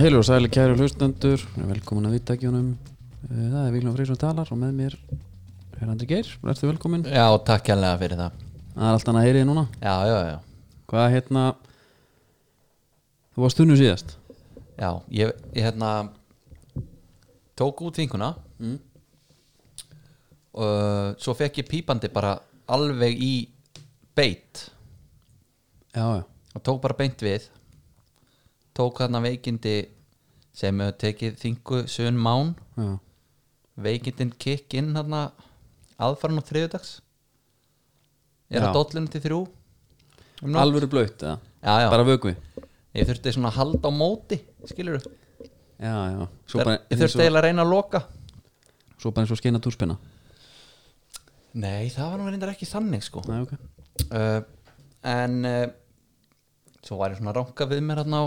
Heilu og sæli kæru hlustendur, velkomin að Vítækjunum. Það er Víglum Frísson talar og með mér er Andri Geir, verður velkomin. Já, takk hérlega fyrir það Það er allt annað heyrið núna. Já, já, já, Hvað hérna, þú varst tunnu síðast. já ég, ég hérna tók út vinkuna mm. uh, svo fekk ég pípandi bara alveg í beitt Já, já. og tók bara beint við tók þarna veikindi sem hefur tekið þingu sön mán já. veikindin kikk inn þarna aðfaran á þriðudags er Já. að dollinu til þrjú um nótt. Alvöru blöyt, eða? já, já. Bara vögvi. ég þurfti svona að halda á móti skilur Já, já. Svo bara, ég þurfti eiginlega að reyna að loka svo, svo bara eins og skeina túrspinna. Nei, það var nú reyndar ekki þannig sko Næ, ok. uh, En uh, Svo var ég svona að ranka við mér hérna á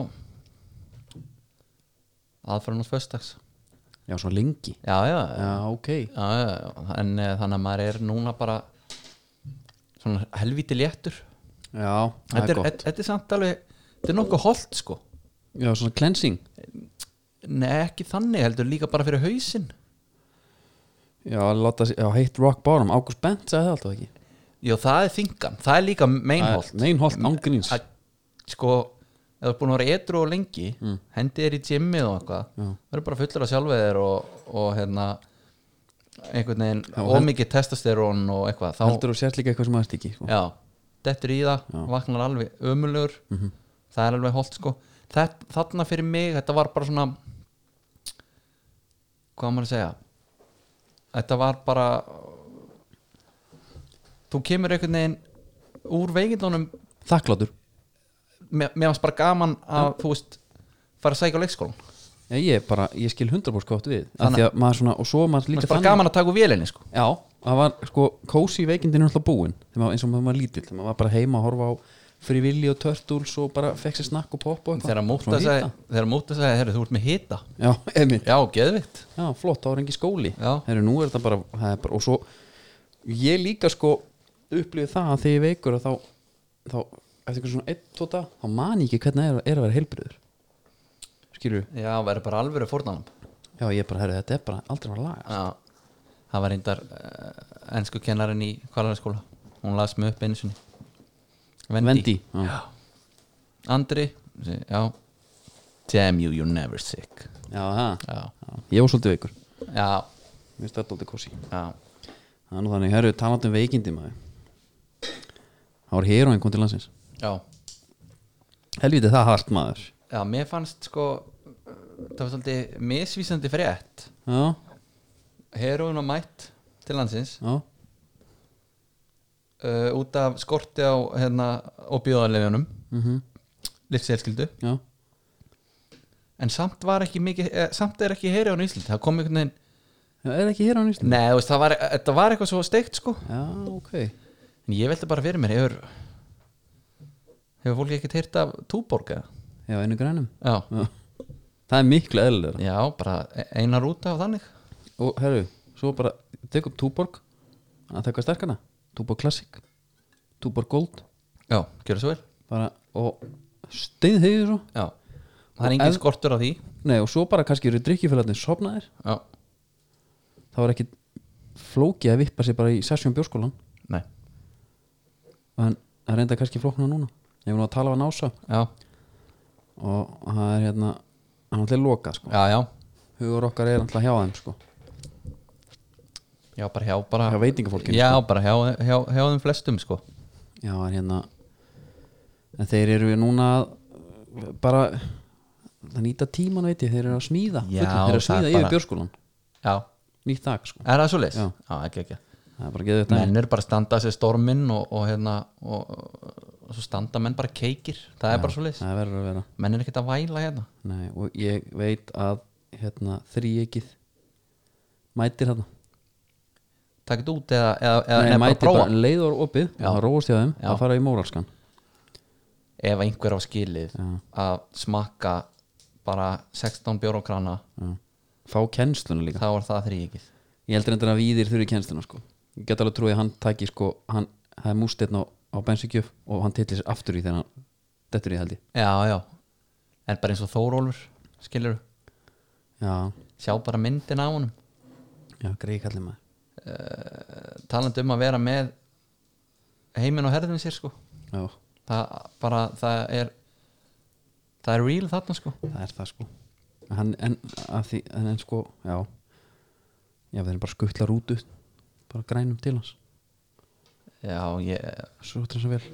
Aðfærum á föstags Já, svo lengi. Já, já, já, Já, ok. já, já, já. En uh, þannig að maður er núna bara Svona helvíti léttur Já, það Þetta er er, gott. þetta þetta er samt alveg Þetta er nokkuð holt sko Já, svona cleansing. Nei, ekki þannig heldur líka bara fyrir hausinn Já, láta, já, heitt rock bottom. Ágúst Bent sagði það alltaf ekki. Jó, það er þingan, það er líka meinholt Meinholt, ángríns. að sko ef þú er búin að vera edru og lengi mm. hendi þér í gymmið og eitthvað verður bara fullur af sjálfið þér og, og hérna einhvern veginn ómikið testosterón og eitthvað þá, Heldur og sért líka eitthvað sem aðeins ekki. sko. já, dettur í það, vaknar alveg ömulegur það er alveg holt sko Þett, þarna fyrir mig, þetta var bara svona hvað á maður að segja þetta var bara þú kemur einhvern veginn úr veikindunum Þakklátur mér mér fannst bara gaman að þú veist fara að sækja á leikskólan Já, ég, er bara, ég skil 100% gott við Af því að maður svona, og svo maður mér líka fannst bara gaman að taka úr vélinni sko Já, það var sko kósi veikindin er alltaf búin þegar maður, eins og maður var lítill, þegar maður var bara heima að horfa á frivilli og törtúls og bara fekk sér snakk og popp og þegar Svona múta hita. segi, þegar múta segi herri, þú ert með hita Já, einmitt já, geðvikt Já, flott, það var engi skóli Já. Heru, nú er þetta bara, það er bara, og svo ég líka sko upplifið það að þegar ég er veikur að þá, þá eftir einhver svona einn, tvo dag, þá man ég ekki hvernig er, er að vera heilbriður Skilur, já, verður bara alvöru fórnanum já, ég er bara, herri, þetta er bara aldrei að fara að laga já, það var reyndar uh, ennsku kennarinn í kvalarskóla hún las mig upp einu sinni Vendi, já. Já. Andri segi, já damn you, you're never sick Já, það já, Ég var svolítið veikur já, Mér stöld aldrei kosi já, Það er nú þannig, herru, talandi um veikindi maður Það var heroin kom til landsins já. Helviti það hart maður Já, mér fannst sko uh, það var svolítið misvísandi frétt Já, heroin og mætt til landsins já, uh, út af skorti á hérna opíóðarlefinum mhm, livsélskildu já en samt var ekki mikið eh, samt er ekki heroin í Íslandi það kom einhvern veginn Já, er ekki heroin í Íslandi? Nei, þú veist, það var, þetta var eitthvað svo steikt sko Já, ok en ég veldi bara fyrir mér hefur hefur fólki ekkert heyrt af túborga Já, einu grænum já, já. Það er miklu eðlilega já, bara eina rúta á þannig Og herru, svo bara, tek upp Túborg að taka sterkana, Túborg Classic Túborg Gold já, gjöra svo vel bara, og steið þegið svo já, það Og er engin ef- skortur á því Nei, og svo bara kannski eru drikkjufélagarnir sofnaðir já, það var ekki flókið að vippa sér bara í sessjón bjórskólan nei, en það reynda kannski flóknar núna ég var nú að tala við hann ása já, og það er hérna hann er alltaf lokað sko já, já hugur okkar er alltaf hjá þeim sko Já, bara hjá bara hjá veitingafólkinu Já, bara hjá, hjá, hjá þeim flestum sko sko. já en hérna en þeir eru núna að- eh, bara það nýta tíman veit ég þeir eru að smíða Já, fullu, þeir eru að það er smíða yfir bara- bjórskólan Já, nýtt þak sko er það svo leis? Já. Já, ekki, ekki það er bara geðið þetta Menn eru bara að standa sér storminn og, og hérna og, og svo standa menn bara keikir Það er bara svo leis það verður að vera Menn er ekkert að væla hérna Nei, og ég veit að hérna þrýekið mætir hérna Takk þetta út eða, eða, eða Nei, eða bara mæti bara, prófa bara leiður opið og Já. það róast hjá þeim Já. að fara í móralskan Ef einhver á skilið að smakka bara 16 bjórókrana fá kennsluna líka þá er það þrýkið ég heldur endur að víðir þurfi kennsluna sko. ég get alveg trúið að hann tæki sko, hann, það er músteinn á, á bensinkjöf og hann tillir sér aftur í þegar hann dettur í held ég Já, já En bara eins og Þórólfur skilur já, sjá bara myndin á honum já, greið kallið maður uh, talandi um að vera með heiminn og herðin sér sko já, það bara, það er það er real þarna sko það er það sko hann, en, að því, en, en sko, já já, þeir bara skuttlar út út bara grænum til hans já, ég, svo út þess að vel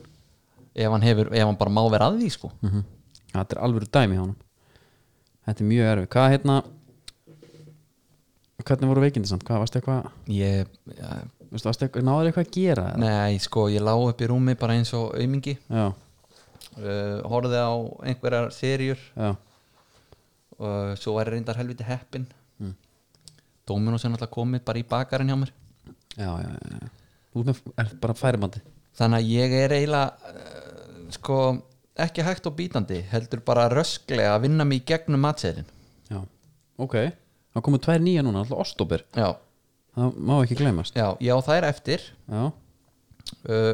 ef hann hefur, ef hann bara má vera að því sko mm þetta er alvöru dæmi hjá honum þetta er mjög erfið, hvað hérna hvernig voru veikindi samt, hvað varst eitthvað ég, ja, veistu, varstu eitthvað, náður eitthvað að gera eða? nei sko, ég lá upp í rúmi bara eins og aumingi já, uh, horfði á einhverjar serjur já, og svo var ég reyndar helviti heppin mm. Dominos er náttúrulega komið bara í bakarinn hjá mér já, já, já, já. út með, er bara færibandi þannig að ég er eiginlega uh, sko ekki hægt og bítandi heldur bara rösklega að vinna mig í gegnum matseðin já, ok það komu tvær nýja núna, alltaf ostóber já, það má ekki gleymast já, já það er eftir já, uh,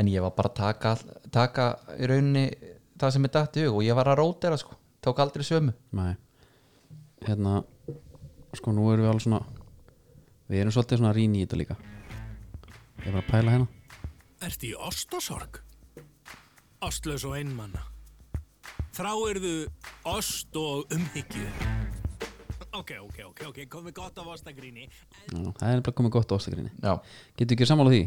en ég var bara að taka, all- taka í rauninni það sem er datt í hug og ég var að rótera sko, tók aldrei sömu nei hérna, sko nú erum við alveg svona við erum svolítið svona að rýna í þetta líka ég er bara að pæla hérna Ertu í ostasorg? Ostlaus og einmanna. Þráirðu ost og umhyggju. Ok, ok, ok, ok, komið gott af ostagríni. já, það er bara komið gott á ostagrýni já, getur ekki sammála því?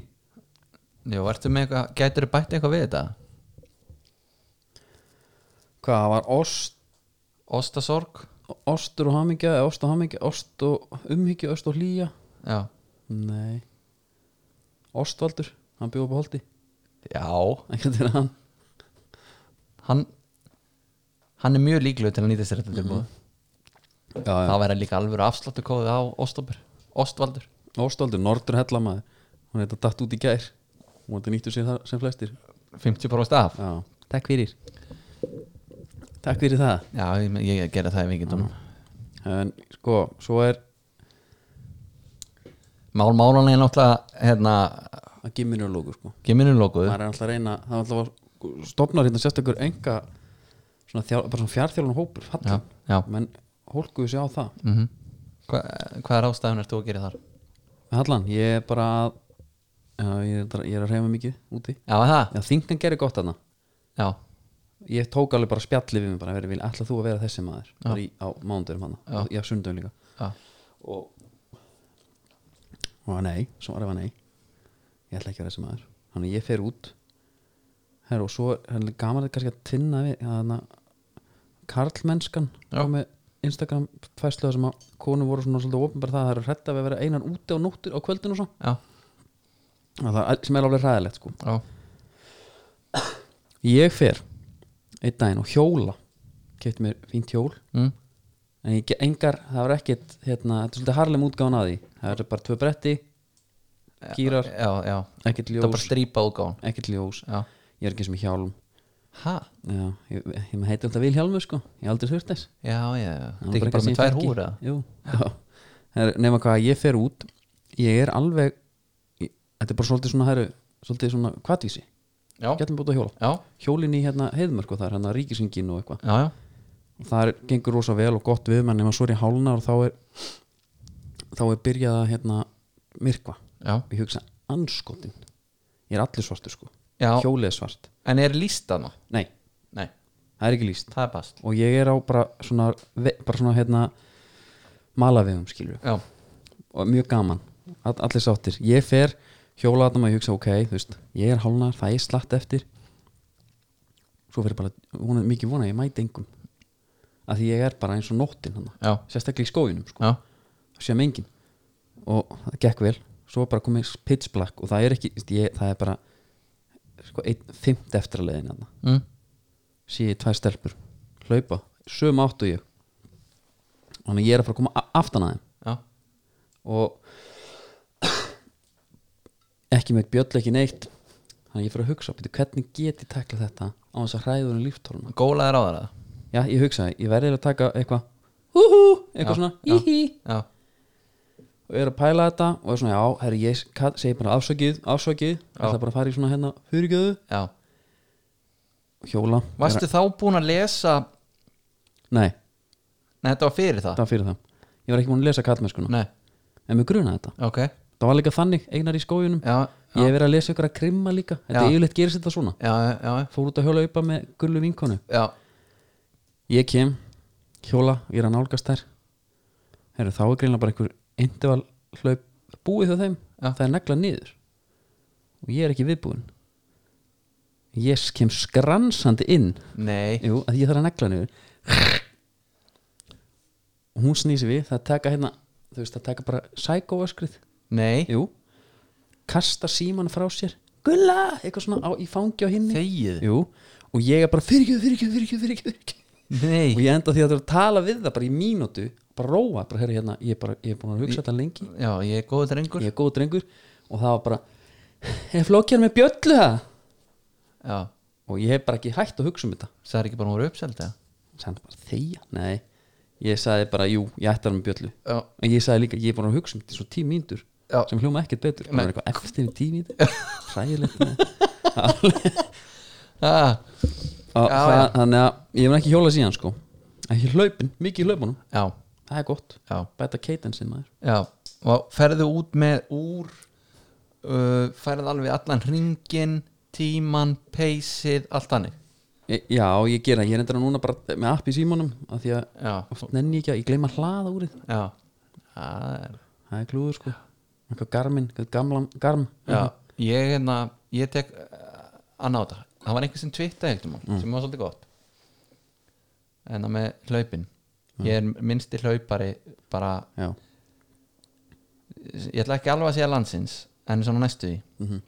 já ertu með eitthvað, gætur þú bætt eitthvað við þetta? hvað, það var ost, Óstasorg? ostur og hamingja eða ost og hamingja, ost og umhyggja ost og hlýja, já, nei ostvaldur, hann bjóð upp á holdi já ekkert er hann hann hann er mjög líklegur til að nýta sér þetta tilbúð já, já. það væri líka alveg afsláttu kóðið á Óstobur, Óstvaldur Óstvaldur, Nordur Hellamaður hún er þetta datt út í gær hún er þetta nýttu sér það sem flestir 50% af Já. Takk fyrir Takk fyrir það já, ég, ég gera það í vikindunum en sko, svo er Mál Málan er náttúrulega hérna, að gimminu er lókur sko geminu lókuð maður er alltaf að reyna það er alltaf að stopnar hérna sérstakur enga svona þjál, bara svona fjárþjálun hópur já, fallin já. menn hólkuðu sér á það Mm -hmm. Hva, hvað er ástæðun er þú að gera þar? Hallan, ég er bara að já, ég, er, að- ég er að reyma mikið úti já, er það, já, þingna gerir gott þarna já, ég tók alveg bara spjalli við mig bara verið vil, ætla þú að vera þessi maður bara í, á mánudurum hana, já, sundum líka já. og og nei, svarið var nei ég ætla ekki að vera þessi maður þannig að ég fer út Her, og svo er hann gaman að kannski að tinna við þannig að karlmennskan Já. kom með Instagram fæslu þar sem að konu voru svona svolítið ofnbæra það að það eru hrætta við að vera einan úti á nóttir á kvöldin og svo já, Og það er- sem er alveg ræðilegt sko já. ég fer einn daginn og hjóla kefti mér fínt hjól Mm. en ég, engar, það var ekkit hérna, þetta er svolítið harlem útgáðan að því það er bara tvö bretti gírar, já, já. ekkert það er bara ljós strýpa útgáðan ekkert ljós, já, ég er ekki sem í hjálm ha, já, ég, ég, ég heiti alltaf Vilhjálmur sko ég hef aldrei þurft þess já, já, já. Það það er var ekki bara eitthvað með sem ég tvær fekk í. húra Jú, já. Það er- nema hvað, ég fer út ég er alveg ég, þetta er bara svolítið svona, heru, svolítið svona kvatvísi, já, já, gætum búið að hjóla já, hjólin í hérna heiðmörk og það er hérna ríkisingin og eitthvað já, og það er, gengur rosa vel og gott við menn nema svo er ég hálna og þá er þá er byrjað að hérna myrkva já. og ég hugsa anskotin ég er allir svartur sko Já. hjólið er svart en er lístana? nei, nei, það er ekki líst það er bast og ég er á bara svona, ve- bara svona hérna malavegum skilur já, og mjög gaman, all, allir sáttir ég fer hjólaðum og ég hugsa ok þú veist, ég er hálnar, það er slatt eftir svo verður bara vona, mikið vona að ég mæti engum að því ég er bara eins og nóttin hann já, sérstaklega í skóginum sko, já, sem engin og það gekk vel, svo var bara komið pitch black og það er ekki, þú veist, ég, það er bara sko, einn fimmt eftir að leiðin hann mm. sé ég tvær stelpur hlaupa, söm áttu ég þannig að ég er að fara að koma a- aftan að þeim já. og ekki með bjöll ekki neitt þannig að ég fyrir að hugsa byrju, hvernig get ég tekla þetta á þess að hræður um líftóluna góla er á það já, ég hugsaði, ég verði að taka eitthvað húhú, eitthvað svona já. híhí já, og er að pæla þetta og er svona, já, herri, ég ka- segi bara afsökið, afsökið ætla bara að fara í svona hérna fyrirgjöðu, já. hjóla varstu þá búin að lesa nei, Nei, þetta var fyrir það það var fyrir það ég var ekki múin að lesa kallmennskuna Nei, en mér grunaði þetta ok Já, það var líka þannig, eignar í skójunum ég hef verið að lesa ykkur að krimma líka þetta Já. er yfirleitt gerist þetta svona já, já, já, fór út að hjóla uppa með gullu vinkonu já. ég kem, hjóla, ég er að nálgast þær Heru, þá er greinlega bara einhver interval hlaup búið hjá þeim Já. það er negla niður og ég er ekki viðbúin ég kem skransandi inn Nei, Jú, að ég þarf að negla niður og hún snýsi við það taka hérna, þú veist, það taka bara sækóöskrið, nei jú kasta síman frá sér gulla, eitthvað svona á, í fangi á hinni Þegið jú, og ég er bara fyrirgjöð, fyrirgjöð, fyrirgjöð, fyrirgjöð, fyrirgjöð og Nei, ég enda því að það er að tala við það bara í mínútu bara róa, bara herri hérna ég er, bara, ég er búin að hugsa þetta lengi, já, ég er góð drengur ég er góð drengur og það var bara, er flokkjar með bjöllu það Já, og ég hef bara ekki hægt að hugsa um þetta það er ekki bara hún voru uppselt eða? sagði hann bara þeia, nei ég sagði bara, jú, ég ætti hann með um bjöllu Já, en ég sagði líka, ég er búin að hugsa um þetta í svo tíu mínútur Já. sem hljóma ekkert betur það Nei. var eitthvað eftir tíu mínútur hræðilegt maður. ah, Og Já, það- já. þannig að ég mun ekki hjóla síðan sko ekki hlaupin, mikið í hlaupunum já, það er gott, já, bæta keitensin maður já Og ferðu út með úr uh, Færðu alveg allan ringin Tíman, peysið, allt hannig E- Já, ég gera, ég er endur núna bara með app í símanum af því að Já, oft nenni ég ekki að ég gleyma að hlaða úrið já Það er það er klúður sko eitthvað garmin, eitthvað gamlan garm Já, ég hérna ég tek uh, annað á þetta það var einhver sem tvitta eitthvað mm. sem var svolítið gott en það með hlaupin ég er minnsti hlaupari bara, já, ég ætla ekki alveg að segja landsins en svona næstu því Mhm.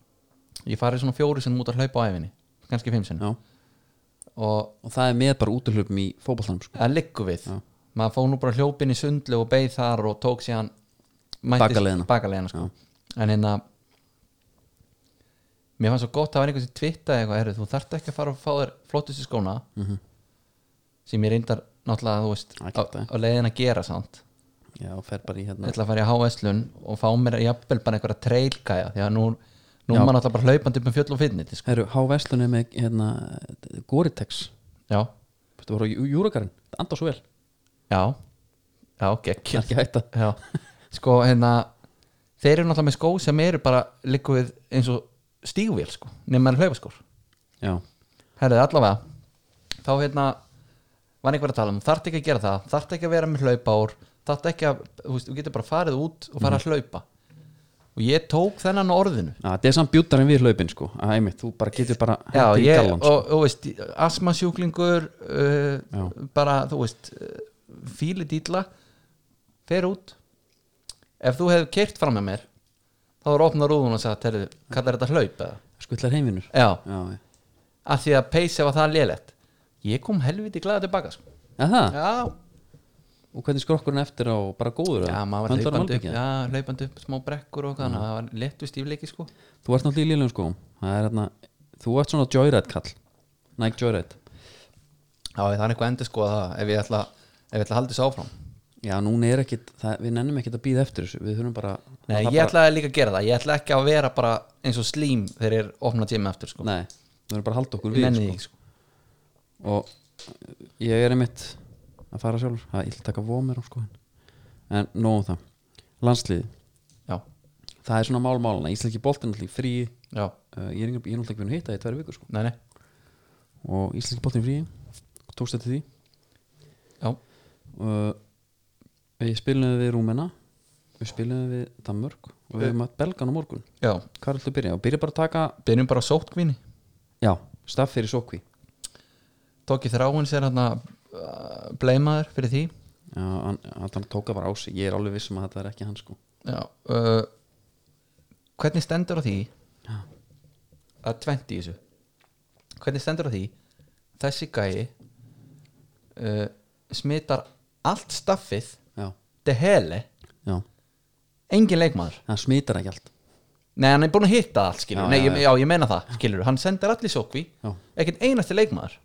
ég farið svona fjóru sem út að hlaupa á æfinni kannski fimm sinni já. og og það er með bara útuhlupum í fótballtanum sko. það liggur við Já. maður fóð nú bara hlaupin í sundlu og beið þar og tók síðan mættist- Bakaleiðina. bakaleiðina sko. en hérna mér fannst svo gott að það var einhvern sem tvittaði eitthvað "Heyrðu, þú þarft ekki að fara að fá þér flottustu skóna -hmm. sem ég reyndar náttúrulega þú veist Mhm. Það eh? á, geta ég. á leiðin að gera samt já, og fer bara í ég hérna ætla að fara í HS-lun og fá mér jafnvel bara einhverja trailkæja því að nú, Já. nú er maður náttúrulega bara hlaupandi upp með fjöll og finnit sko. Heru, Há Vestlunni með hérna Goritex, já, þetta voru á Júragarinn þetta andar svo vel, já, já, það gekk er ekki hægt að já, sko hérna þeir eru náttúrulega með skó sem eru bara líku við eins og stígvél sko nema er hlaupaskór, já, herrið allavega þá hérna var einhver að tala um, þarft ekki að gera það þarft ekki að vera með hlaupár þarft ekki að, þú veist, þú getur bara farið út og fara að hlaupa og ég tók þennan á orðinu Að þetta er samt bjútarinn við hlaupin sko að einmitt, þú bara getur bara já, hendur í ég, gallann, sko. og, og veist, asmasjúklingur uh, Já. bara, þú veist uh, fíli dýtla fer út ef þú hefur keirt fram með mér þá er opnað rúðun og sagt heyrðu, kallar þetta hlaup eða? skutlar heiminur já, já, já. af því að peysi var það lélegt ég kom helviti glæða tilbaka sko. Ja, það, já, og hvernig skrokkurinn eftir á bara góður já, eða? maður var Höndunum hlaupandi upp malbikið? já, hlaupandi upp smá brekkur og þannig, það var lettu stífleiki sko Þú ert náttúrulega í liðlegum skóum Það er hérna, þú ert svona joyride kall Nike joyride já, það er eitthvað endur sko það ef ég ætla, ef ég ætla að halda þessu áfram Já, núna er ekkit, það, við nennum ekkit að býða eftir þessu Við þurfum bara Nei, það ég ætlaði líka að gera það, ég ætla ekki að vera bara eins og slím þegar ég er opnað tíma eftir sko. bara, Nei, við þurfum bara að halda okkur ég við nenni því sko. sko. Og ég er einmitt að fara sjálfur Það er illt að taka vómer á skoðin En nóg um það, landsliði Já, Það er svona málmálana, íslenski boltinn alltaf í frí já, uh, Ég er engan- ég er náttúrulega ekki búin að hitta það í tværi vikur sko. nei, nei Og íslenski boltinn í frí Tókst þetta því Já, uh, Við spilum við Rúmena Við spilum við Danmörk Og við höfum að Belgan á morgun já, Hvað er alltaf að byrja? Og byrja bara að taka byrjum bara á sótkvinni Já, staff fyrir sókví Tóki þráin sér hann að hérna, uh, bleimaður fyrir því Já, hann, hann tóka bara á sig Ég er alveg viss um að þetta er ekki hann sko Já, uh, hvernig stendur á því Já. að tventi í þessu Hvernig stendur á því þessi gæi uh, smitar allt staffið Já, de hele, já engin leikmaður Hann smitar ekki allt Nei, hann er búin að hitta allt, skilur Já, Nei, já, ég, já, ég meina það, skilur Hann sendir allir sókví Já. Ekkert einasti leikmaður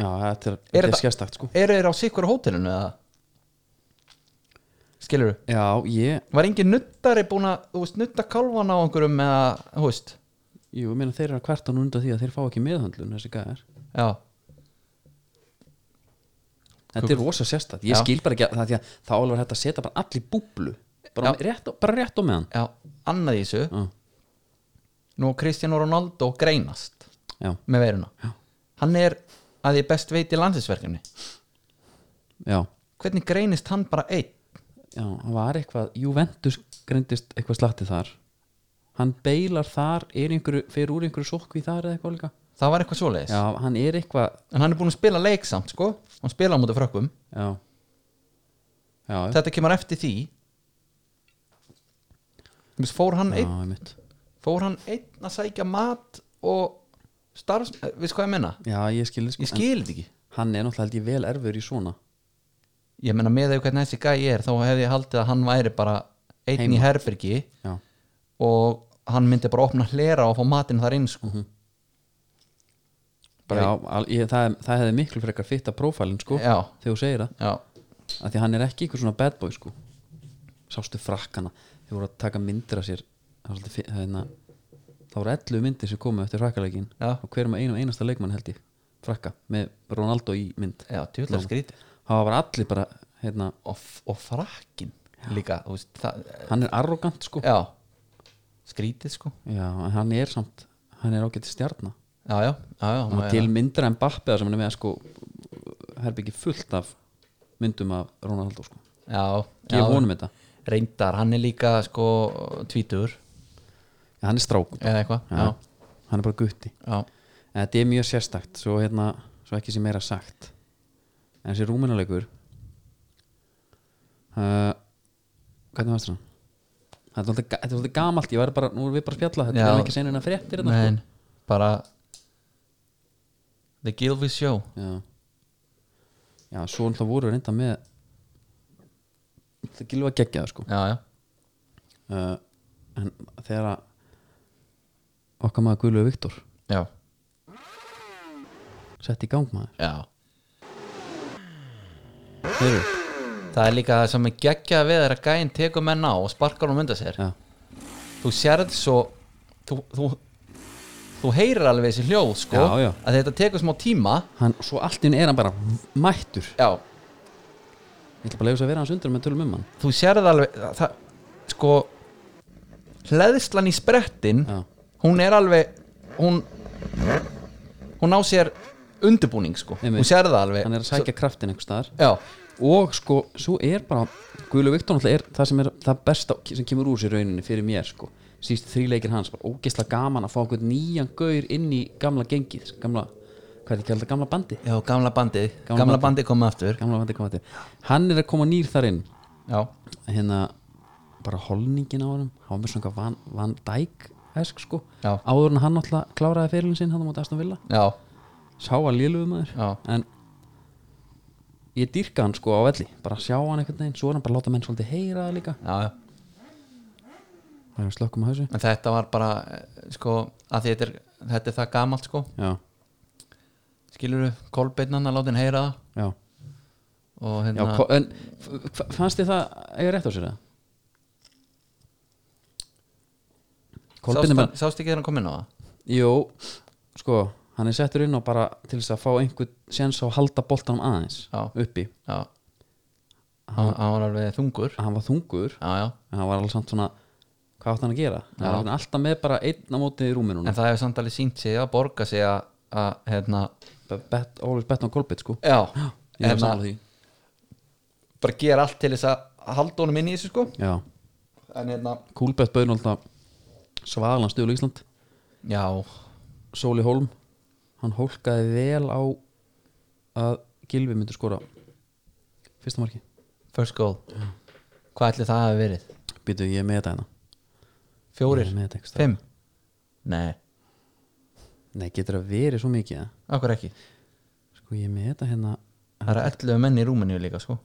Já, þetta er, Er þetta er þetta- skjastakt sko Eru þeir á sikkur hótelinu eða? Skilur Já, ég, Var engin nuttari búin að, þú veist, nutta kálfana á einhverjum eða, þú veist jú, ég meina þeir eru að kvarta nú undan því að þeir fá ekki meðhöndlun þessi gæðar Já þetta er rosa sérstætt ég Já. skil bara ekki að það því að þá alveg hægt að setja bara allir í búblu bara, Já. á- rétt, á- bara rétt á meðan já, annað í þessu Já. nú Cristiano Ronaldo greinast já, með veiruna Já. hann er að ég best veit í landsinsverkefni já, hvernig greinist hann bara einn já, hann var eitthvað Juventus greindist eitthvað slatti þar hann beilar þar er einhverju, fer úr einhverju sókvi þar eða eitthvað líka það var eitthvað svoleiðis já, hann er eitthvað en hann er búin að spila leiksamt sko hann spila á mútu frökkum já, já, já, þetta kemur eftir því Þú veist, fór hann já, einn einmitt. fór hann einn að sækja mat og starfs eh, veist hvað ég menna já ég skil þig, sko, ég skil þetta ekki en hann er náttúrulega held ég vel erfur í svona ég menna með þau hvernig þessi gæi er þá hefði ég haldið að hann væri bara einn í herbergi já, og hann myndi bara opna hlera og fá matinn þar inn sko. Mhm, bara, já al, ég, það, það hefði miklu frekar fitta prófælin sko, Já. þegar þú segir það já, að því hann er ekki einhver svona bad boy sko sástu frakkana þeir voru að taka myndir af sér það var svolítið fi- það er hérna- það voru 11 myndir sem komu eftir frakkaleikin Já. og hver með einum einasta leikmann held ég frakka með Ronaldo í mynd já tjóðlega skrítið það var allir bara hérna, og, f- og frakkin líka þú veist, það, hann er arrogant sko já, skrítið sko já, en hann er samt hann er ágætið stjarnar já, já, já, já, hann má var ég- til myndir en Bappiða sem hann er með sko herbyggi fullt af myndum af Ronaldo sko já, já, gef honum þetta reyndar, hann er líka sko tvítur ja, hann er strákur eða eitthvað já. hann er bara gutti Já. en þetta er mjög sérstakt svo, hérna, svo ekki sem meira sagt en þessi rúminalegur uh, hvernig varst það? Þetta er svolítið ga- þetta er svolítið gamalt, ég var bara, nú erum við bara að spjalla þetta Já. er ekki senin að fréttir þetta Nei, bara The Gilvis Show sko. Já. Já, svo náttúrulega voru við reynda með það gilfa geggja það sko já, já, uh, en þegar að okkar maður Guðlu Viktor já, sett í gang maður já. Heru, það er líka það sem er geggjað við er að gæinn tekur menn á og sparkar og mynda sér Já. þú sérð svo þú, þú, þú heyrir alveg þessi hljóð sko, Já, já. að þetta tekur smá tíma hann, svo allt í hún er hann bara mættur já, Ég ætla bara að leiða þess að vera hans undur með tölum um hann þú sérð alveg það, það, sko hleðslan í sprettin Já. hún er alveg hún, hún á sér undirbúning sko, Einmitt. hún sérð það alveg Hann er að sækja kraftin einhver staðar já, Og sko, svo er bara Guðlu Viktor náttúrulega er það sem er það besta sem kemur úr sér rauninni fyrir mér sko Síst þríleikir hans, bara ógeðslega gaman að fá einhvern nýjan gaur inn í gamla gengið sko, Gamla, hvað er ekki alltaf gamla bandi? já, gamla bandið Gamla gamla, bandið bandi komið aftur Gamla bandi, hvað þetta er Hann er að koma nýr þar inn já, Hérna, bara holningin á hann Hann var með svona eitthvað van, van dæk esk sko Já. Áður en hann náttúrulega kláraði fyrirlin sinn hann á móti Aston Villa já, sá að lélugum maður Já. en ég dýrka hann sko á velli bara sjá hann einhvern veginn, svo er hann bara að láta menn svolítið heyra það líka já, já það er slökkum að hausu en þetta var bara eh, sko, að því þetta er, þetta er það gamalt sko, já, skilur við kolbeinnan að láta henn heyra það já, og já hérna, ko- en f- f- fannst þið það eiga rétt á sér það? sást, Kolbinn er hann- bara, sást ekki þegar hann kom inn á það jú sko, hann er settur inn á bara til þess að fá einhvern séns á að halda boltanum aðeins Já. uppi, já, hann, hann var alveg þungur hann var þungur já, já, en hann var alveg samt svona hvað átt hann að gera? hann var alltaf með bara einn á móti í rúminu en það hefur samt alveg sínt sig að borga sig að, að hérna, bet, always bet on Kolbett sko já, Ég er hérna, sammála því. bara gera allt til þess að halda honum inn í þessu sko Já, en hérna, Kúlbett bauðin alltaf Svalan Stöðul Ísland já, Sóli Holm Hann hólkaði vel á að Gilvi myndi skora Fyrsta marki first goal hvað ætli það hefur verið? Býtu, ég er með þetta hérna fjórir, Ég er með þetta einhvers staðar. fimm nei, Nei, getur það verið svo mikið eða? okkur ekki Sko, ég er með þetta hérna það eru 11 menn í Rúmeníu líka sko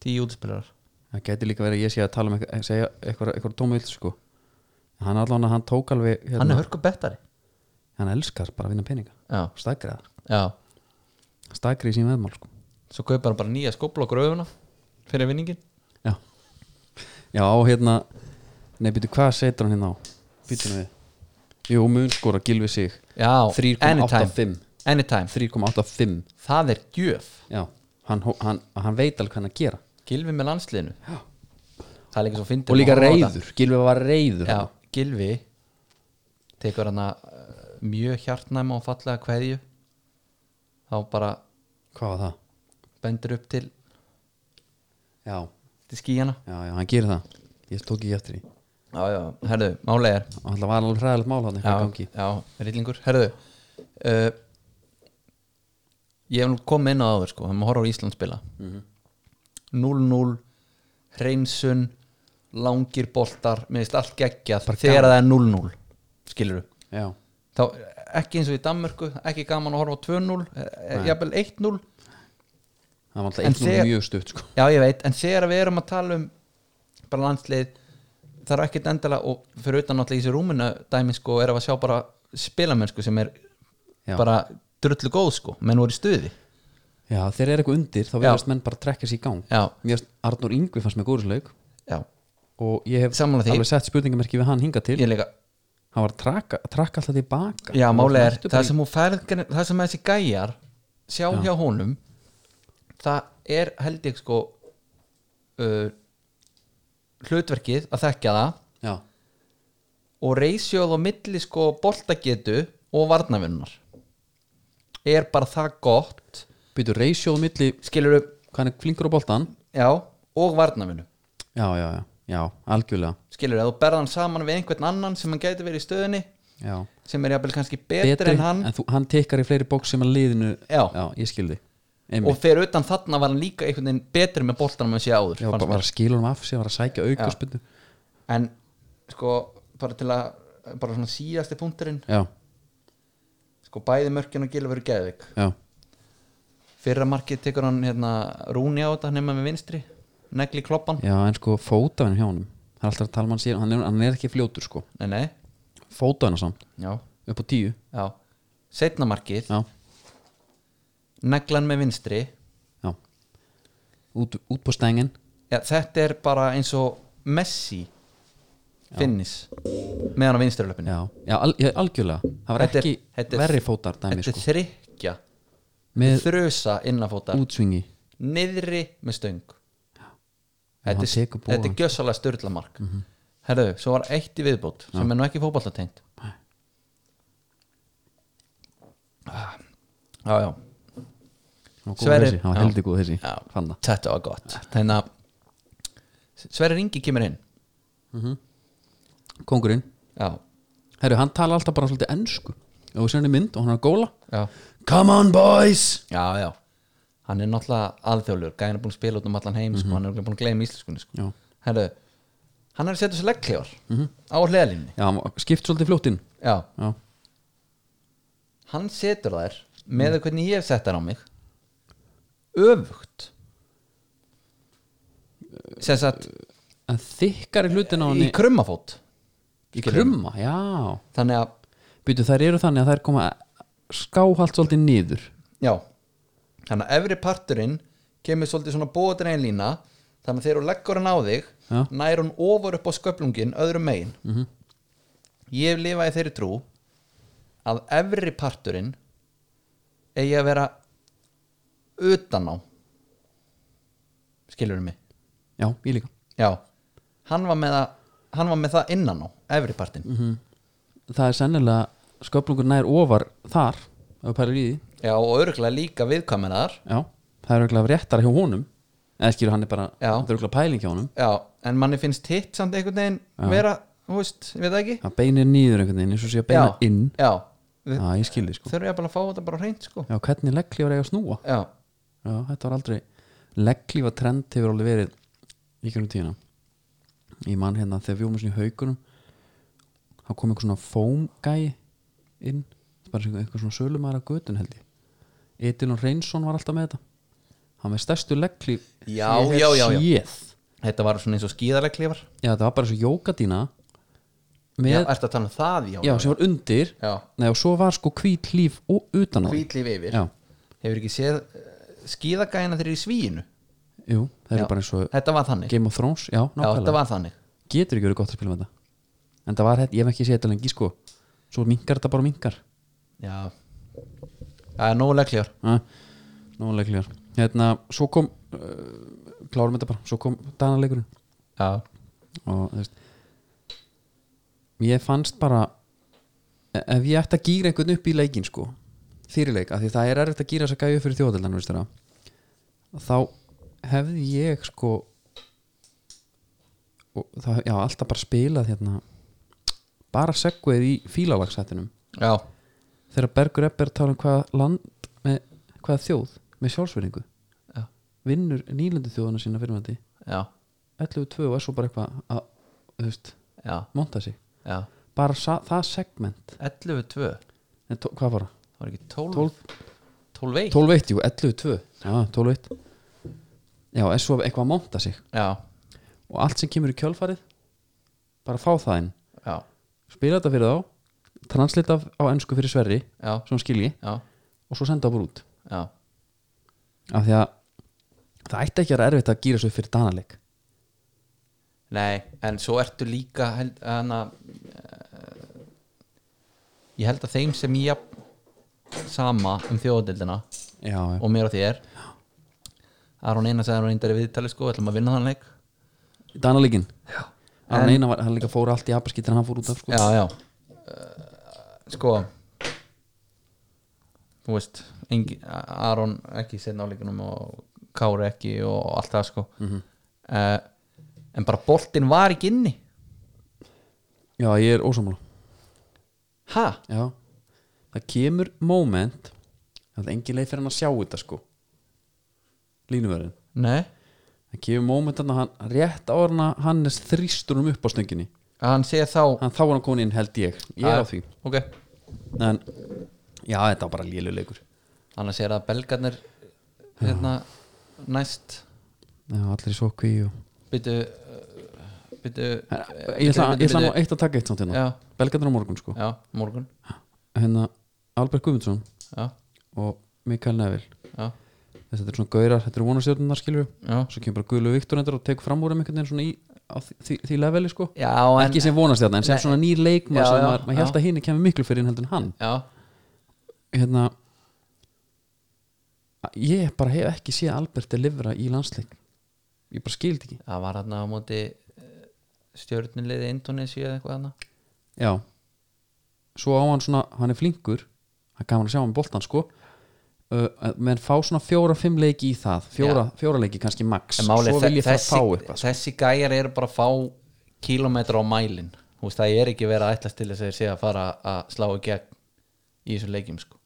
10 útspilarar Það getur líka verið að ég sé að tala um eitthvað, segja eitthvað, eitthvað tóma vilt sko En Hann allan að hann tók alveg hérna, hann er hörku bettari hann elskar bara að vinna peninga já, Stækriðar já. Stækrið sín veðmál sko svo kaupar hann bara nýja skópla á gröfuna fyrir vinningin Já Já, á hérna Nei, býtu, hvað setur hann hérna á? Býtu við Jú, mun skora, gilvi sig já, anytime 3.85 anytime, 3,85 það er gjöf já, hann, hó- hann, hann veit alveg hvað hann er að gera Gilvi með landsliðinu það er líka svo fyndið og líka að horfa á það. reyður, Gilvi var reyður Já, Gilvi tekur hann að mjög hjartnæma og fallega kveðju þá bara hvað var það? bendur upp til, Já, til skíjana já, já, hann gerir það ég tók ekki eftir því já, já, herðu, málega er og alltaf var alveg hræðilegt mál hann eitthvað í gangi já, rillingur, herðu uh, ég hef nú komið inn á það áður, sko, hann má horfa á Ísland spila 0-0 hreinsun langir boltar, minnist allt geggjað þegar það er 0-0 skilur du já, þá ekki eins og í Danmörku ekki gaman að horfa á 2-0 eh, jafnvel 1-0 það var alltaf En einn og þegar- mjög stutt sko. já ég veit, en þegar við erum að tala um bara landslið það er ekkert endilega og fyrir utan náttúrulega í þessu rúminu dæmi sko erum við að sjá bara spilamenn sko sem er Já. bara drullu góð sko, menn voru í stuði já, þegar er eitthvað undir þá verðast menn bara að trekka sér í gang Já. mér finnst Arnór Yngvi fannst með góðurslaug já, og ég hef Sammála því. alveg sett spurningamerki við hann hinga til ég líka hann var að trakka, trakka alltaf tilbaka já, Hann var málega er, flestur bara það í- sem hún færð það sem þessi gæjar sjá hjá honum það er held ég sko uh, hlutverkið að þekka það já, og reysjóð á milli sko boltagetu og varnavinnar er bara það gott byrju reysjóð milli skilur hvað hann er flinkur á boltan já, og varnavinnu já, já, já, já, algjörlega skilur þú berðan saman við einhvern annan sem hann gæti verið í stöðinni já. sem er jafnvel kannski betri, en hann þú, hann tekkar í fleiri bóks sem að liðinu Já. ég skildi og fyrir utan þarna var hann líka einhvern veginn betri með boltanum en sé áður já, fannst bara mér. var að skila hann af sér, var að sækja Já. aukaspundu en sko bara til að bara svona síðasti punkturinn já, sko bæði mörkin og gilfur geðvik já, fyrra markið tekur hann hérna rúni á þetta nema með vinstri negli kloppan, já, en sko fótafinn hjá honum það er alltaf að tala mann sér, hann er, hann er ekki fljótur sko nei nei fótafinn samt, já, upp á tíu já setna markið, já, neglan með vinstri já út, út på stengin já, þetta er bara eins og Messi finnis með hann á vinstrilöpinu já, já, al, já algjörlega það var ekki verri fótar dæmi þetta er sko þryggja með þrösa innanfóta útsvingi niðri með stöng hann þetta, er- tekur Mhm. bóðan. þetta er gjössalega störlamark mm herðu, svo var eitt í viðbót sem er nú ekki fótballatengt Ah. já, Hann já var góður Sverrir- þessi, hann var já. heldig góð þessi Já. fann það þetta var gott Hérna, þannig að Sverri Ringi kemur inn kongurinn, já, herru hann tala alltaf bara svolítið ennsku og við sér hann í mynd og hann er að góla já, come on boys já, já. hann er náttúrulega alþjóðlur gæðin er búin að spila út um allan heim sko. hann er örugglega búin að gleyma íslenskunni sko. Mhm. Já. Mhm. Herru, hann er að setja sér leggklefar á hliðalínni já, hann var- skipt svolítið fljóttinn já. já, hann setur þær með Mhm. mm. hvernig ég hef sett þær á mig öfugt sem sagt en þykkari hlutin á í hann krummafót í krumma, já þannig að Býtu, þær eru þannig að þær koma skáhalt svolítið niður Já Þannig að efri parturinn kemur svolítið svona bóðin einn lína þannig að þegar hún leggur hann á þig Já. nær hún ofar upp á sköplungin öðrum megin -hmm. Ég hef lifað í þeirri trú að efri parturinn eigi að vera utan á skilurðu mig já, ég líka Já, hann var með, að, hann var með það innan á efri partinn -hmm. það er sennilega sköplungur nær ofar þar ef við pælir í því Já, og örgulega líka viðkvæmnaðar já, það er auðvitað réttara hjá honum eða skilur hann er bara, Já. það er auðvitað pæling hjá honum Já, en manni finnst hitt samt einhvern veginn vera, þú veist, ég veit það ekki það beinir niður einhvern veginn eins og sé að beina já, inn já, við já, ég skilði sko þurfum ég bara að fá þetta bara á hreint sko já, já, hvernig legglíf er eiga að snúa já, þetta var aldrei legglífa trend hefur alveg verið í kjörnum tíðina ég man hérna þegar við vorum svona í haugunum þá kom einhver svona fómgæi inn bara sem einhver svona sölumæra götun held ég Edilon Reynsson var alltaf með þetta hann með stærstu legglíf Já, sem ég hef já, já, já. séð. þetta var svona eins og skíðarlega klifar já, þetta var bara eins og jókadína já, með, ertu að tala um það, já já, sem var undir já, Nei, og svo var sko hvít líf og utan á því. hvítlíf yfir Já, hefur ekki séð uh, skíðagæna þeir eru í svíinu jú, það Já. eru bara eins og þetta var þannig, Game of Thrones, já, já, þetta nákvæmlega var þannig Getur ekki verið gott að spila með þetta En það var, þetta- ég hef ekki séð þetta lengi sko Svo minkar þetta bara minkar já, Það er nógu legljar Nóðanlega klíðar Hérna, svo kom uh, Klárum þetta bara, svo kom Danaleikurinn Já, og þú veist Ég fannst bara e- Ef ég ætti að gýra einhvern upp í leikinn sko Þýrileik, af því það er erfitt að gýra þess að gæja fyrir þjóðadeldan, veist það Þá hefði ég sko og það, Já, alltaf bara spilað hérna Bara segguðið í fílalagsættinum já, þegar Bergur Ebber tala um hvaða land með hvaða þjóð með sjálfsverðingu Já. vinnur nýlöndu þjóðana sína fyrirvændi já, 11.2 og er svo bara eitthvað að þú veist, já, monta sig já. bara sa, það segment 11-2 Nei, tó, hvað var það? Það var ekki 12 12, 12 veit 12 jú, 11.2 já, 12 já, er svo eitthvað að monta sig Já, og allt sem kemur í kjölfarið bara fá það inn já, spila þetta fyrir þá translita á ennsku fyrir Sverri já, sem skilji já, og svo senda það bara út já af því að það ætti ekki að vera erfitt að gýra svo fyrir Danaleg Nei, en svo ertu líka held, hana, uh, Ég held að þeim sem ég jafn sama um þjóðadildina já, já. og mér og þér Aron Einar sagði hann reyndar í viðtali sko, ætlum að vinna þann leik Danalíkin Aron En- Einar var, hann líka fór allt í apaskýttir hann fór út af sko Já, já uh, Sko Þú veist engi, Aron ekki setna á líkunum og Kári ekki og allt það sko uh, En bara boltinn var ekki inni Já, ég er ósámála Ha? Já Það kemur moment Það er engin leið fyrir hann að sjá þetta sko Línuverðin Nei Það kemur moment þannig að hann rétt á hann hann er þrýstur um upp á stönginni Hann segir þá Hann þá er hann komin inn held ég Ég er á því Ok En Já, þetta var bara léluleikur Annars er það belgarnir hérna næst Já, allir í sókví og byttu uh, byttu uh, Ég ætla ég ætla nú eitt að taka eitt samt hérna Já, Belgarnir á morgun sko já, morgun Hérna Albert Guðmundsson Já, og Mikael Neville já, Þessi, þetta er svona gaurar, þetta eru vonarstjórnunar skilur við já svo kemur bara Guðlu Viktor endur og tekur fram úr um einhvern veginn svona í á því, því, því leveli sko Já, en ekki sem vonarstjórna en sem Nei. svona nýr leikmað Já, sem já, maður, maður held að hinn kemur miklu fyrir inn heldur en hann Já, hérna ég bara hef ekki séð Albert delivera í landsleik ég bara skildi ekki Það var hann á móti stjórnilegði Indonési eða eitthvað hann já svo á hann svona, hann er flinkur það er gaman að sjá hann boltan sko uh, menn fá svona fjóra-fimm leiki í það fjóra, fjóra leiki kannski max svo vil ég fara að fá eitthvað sko. þessi gæjar eru bara að fá kílometra á mælin Þú veist, það er ekki verið að ætlast til þess að þeir sé að fara að slá í gegn í þessum leikjum sko.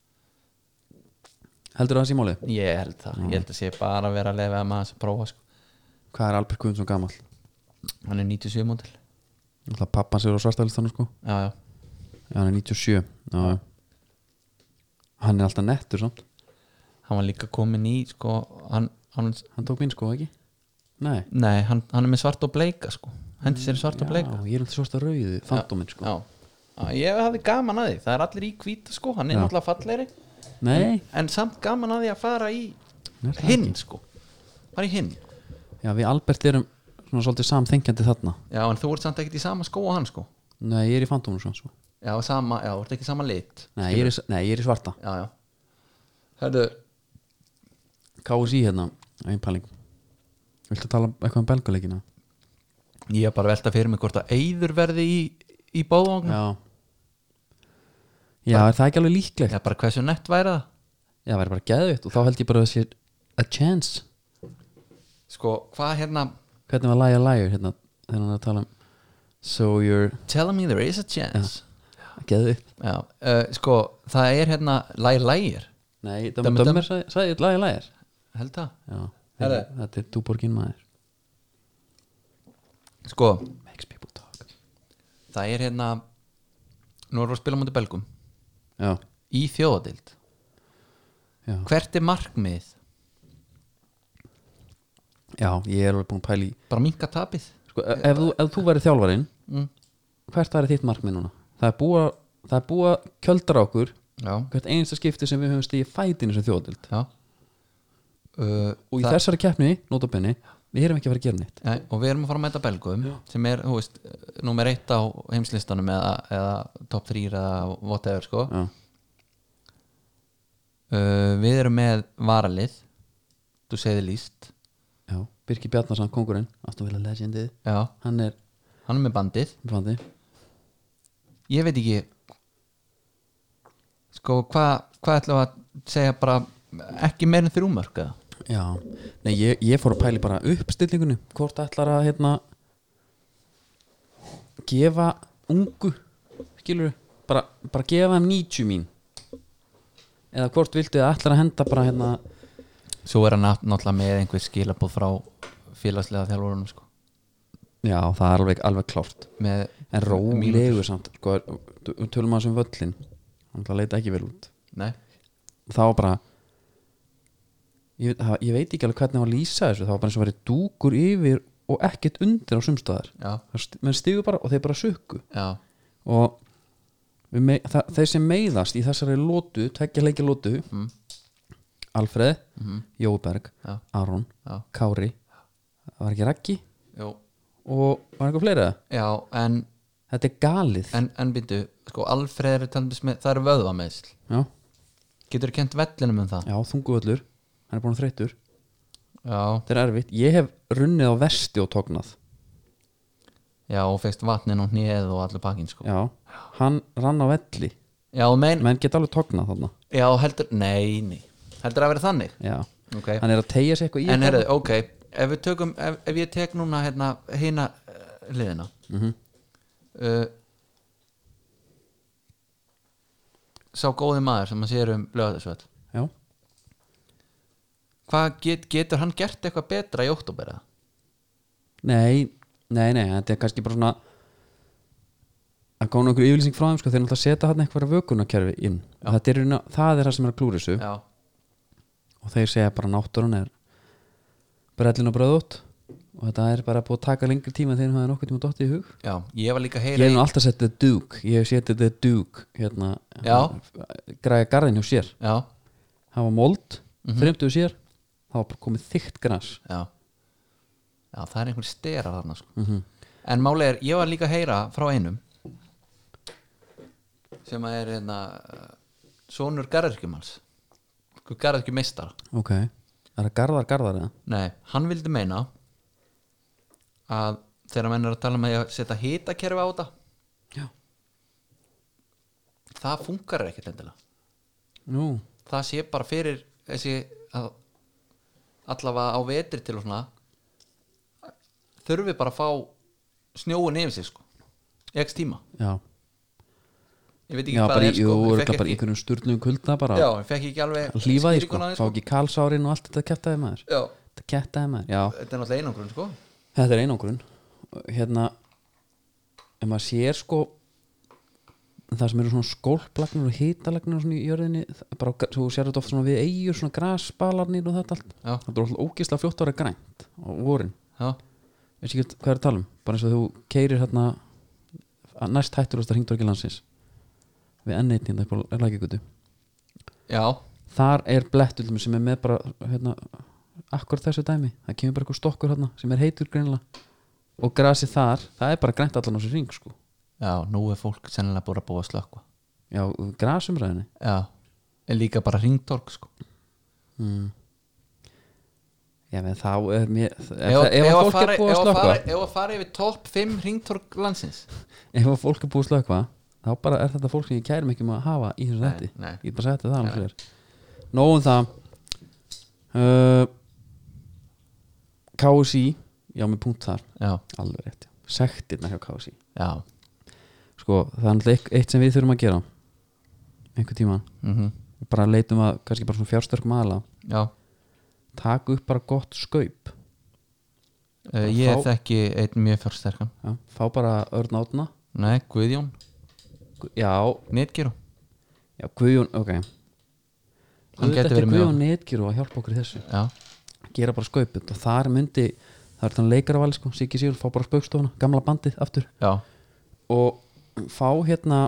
heldur það að sé málið, ég held það, ég held að sé bara að vera að lefa með þess að prófa sko. hvað er Albert Guðmundsson gamall hann er 97 mótil Alltaf pappan sér á svartalistanum sko já, já. Já, hann er 97 Já. Hann er alltaf nettur samt hann var líka komin í sko, hann, hann, Hann tók minn sko, ekki? Nei nei, hann, hann er með svart og bleika sko. hendi sér í svart og bleika Já, ég er alltaf svarta rauðu, fantóminn sko já. Já, ég hafði gaman að því, það er allir í hvíta sko, hann er Já. náttúrulega fallegri Nei, en samt gaman að því að fara í Nei, það hinn sko bara í hinn já, við Albert erum svona svolítið samþengjandi þarna já en þú ert samt ekkert í sama skó og hann sko Nei, ég er í fantóminu svona sko já, sama, já, þú ert ekki í sama lit Nei, ég er, í- nei, ég er í svarta já, já Herðu, KSI hérna, einpæling Viltu tala eitthvað um belgaleikina? ég er bara að velta fyrir mig hvort að eyður verði í, í bóðvagn Já Já, er það ekki alveg líklegt? já, bara hversu nett væri það Já, það væri bara geðvitt og þá held ég bara að það sé a chance sko, hvað hérna hvernig var Liar Liar hérna þegar hann er að tala um So you're tell me there is a chance Geðu já, uh, sko, það er hérna lægir lægir, Nei, Dömmer, Dömmur Dömmur sagði, sagði Liar Liar held það Já, Herre. þetta- þetta er Dúborgin maður sko, Makes people talk það er hérna nú erum við að spila mútið belgum Já, í þjóðadild já, hvert er markmið já ég er alveg búin að pæla í bara minka tapið sko, ef, ef, þú- ef þú væri þjálfarinn Mm. hvert væri þitt markmið núna? Það er búa það er búa kjöldra okkur já, hvert einasta skipti sem við höfum stíði fætinu sem þjóðdild já. Uh, og í það- þessari keppni, notabenni við erum ekki að fara að gera neitt Nei, og við erum að fara að mæta belgum sem er, þú veist, nummer eitt á heimslistanum eða, eða top 3 eða whatever, sko Já, uh, Við erum með varalið Þú segði líst já, Birki Bjarnarsson, kongurinn Aston Villa legendið, Já, hann er hann er með bandið fandi, Ég veit ekki Sko, hvað hva ætlum við að segja bara ekki meir en þrjú mörg eða? já Nei, ég, ég fór að pæli bara uppstillingunni hvort ætlar að hérna gefa ungu skilur bara, bara gefa þeim 90 mín eða hvort viltu að ætlar að henda bara hérna Svo er hann nátt- náttúrulega með einhver skilabóð frá félagslega þjálfurunum sko. já, það er alveg, alveg klárt með En rólegu samt sko, þú- Tölum að sem völlin Hann ætla að leita ekki vel út Nei, Það var bara Ég, það, ég veit ekki alveg hvernig hann var að lýsa þessu Það var bara eins og verið dúkur yfir Og ekkert undir á sumstaðar já, Menn stigu bara og þeir bara sukku já Og við me, það, þeir sem meiðast í þessari lótu Tveggja leikja lótu Mm. Mm-hmm. Alfreð, Jóberg, Já. Aron Já. Kári Það var ekki Raggi Jú. Og var eitthvað fleira Já, en, Þetta er galið en, en býtu sko, Alfreð er tæmis með, það eru vöðvameðsl Já, Getur kent vellinum um það já þunguvöllur Hann er búin að þreyttur Já, Þetta er erfitt, ég hef runnið á vesti og tognað já og fegst vatnin og hnið og allur pakkin sko. Já, hann rann á velli Já, mein, Menn geta alveg tognað þarna já, heldur Nei, nei, heldur að vera þannig Já, okay. hann er að tegja sig eitthvað í En þetta. herðu, ok Ef við tökum, ef, ef ég tek núna hérna hina uh, liðina Mhm. uh, Sá góði maður sem að sér um lögðarsvöld Já, Hvað get, getur hann gert eitthvað betra í oktober eða? nei, nei, nei Þetta er kannski bara svona að góna okkur yfirlýsing frá þeim sko, þeir náttúrulega setja hann eitthvað vökunarkerfi inn og þetta er, í raun- það er það sem er að klúra þessu Já, og þeir segja bara náttúrun er brellin og bröðótt og þetta er bara búið að taka lengri tíma þegar hann hafði nokkuð tíma dottið í hug já, ég var líka að Ég heyra hef nú alltaf sett The Duke Ég hef sett The Duke hérna, Já. Græja garðin hjá sér Já, Það var mold, mm -hmm. sér Það var bara komið þykkt græs já Já, það er einhver stera þarna sko. En máli er, ég var líka að heyra frá einum sem að er hérna eh, sonur garðirkjumals garðirkjumeistar Ok, er það garðar, garðar eða? Nei, hann vildi meina að þegar menn er að tala með að setja hitakerfi á þetta Já. það funkar ekkert endilega Nú, það sé bara fyrir þessi að allavega á vetri til og svona þurfi bara að fá snjóin yfir sig sko í x tíma, já ég veit ekki Já, hvað bara það í, er jú, sko ég voru fekk þetta bara í ekki, einhverjum sturnum kulda bara já, ég fekk ekki alveg Hlífa því skýringu sko, á því, fá ekki kalsárin og allt þetta kæftaði maður já, Þetta kæftaði maður, já þetta er náttúrulega einangrun sko Þetta er einangrun Hérna ef maður sér sko það sem eru svona skólplagnir og hítalagnir og svona í jörðinni það er bara, svo sér þetta oft svona við eigur svona grasbalarnir og þetta allt Já. þetta er alltaf ógislega fljótt ára grænt á vorin já, veist ekki hvað er að tala um bara eins og þú keirir hérna að næst hættur ásta hringdorki landsins við N1 hérna upp á lækikutu já, þar er blettulmi sem er með bara hérna, akkur þessu dæmi það kemur bara eitthvað stokkur hérna sem er heitur greinlega og grasi þar, það er bara grænt allan á þessu ring sko já, nú er fólk sennilega búið að búa að slökva já, grasumræðinni já, en líka bara ringdorg sko já, menn þá er mér ef, ef ef, ef, að ef að fólk fara- er búið að ef að slökva fara- ef að fara yfir topp 5 ringtorg landsins ef að fólk er búið að slökva þá bara er þetta fólk sem ég kærum ekki um að hafa í þessu þætti nei. ég get bara sætti það alveg fyrir nóðum um það uh, KSI já, með punkt þar, já, alveg rétt já. sektirna hjá KSI já sko, það er alltaf eitt sem við þurfum að gera einhver tíma mm bara leitum að, kannski bara svona fjárstörkum aðla Já, taka upp bara gott skaup uh, ég Fá- þekki einn mjög fjársterkan já. fá bara örn átna Nei, Guðjón, Gu- já, Netgerú já, Guðjón, ok Hann Auðvitað gæti verið ekki með Guðjón Nitgir og að hjálpa okkur í þessu Já, gera bara skaupið og þar myndi það er þannig leikarvali sko, Siggi Sigurð fá bara spaukstofuna, gamla bandið aftur já, og fá hérna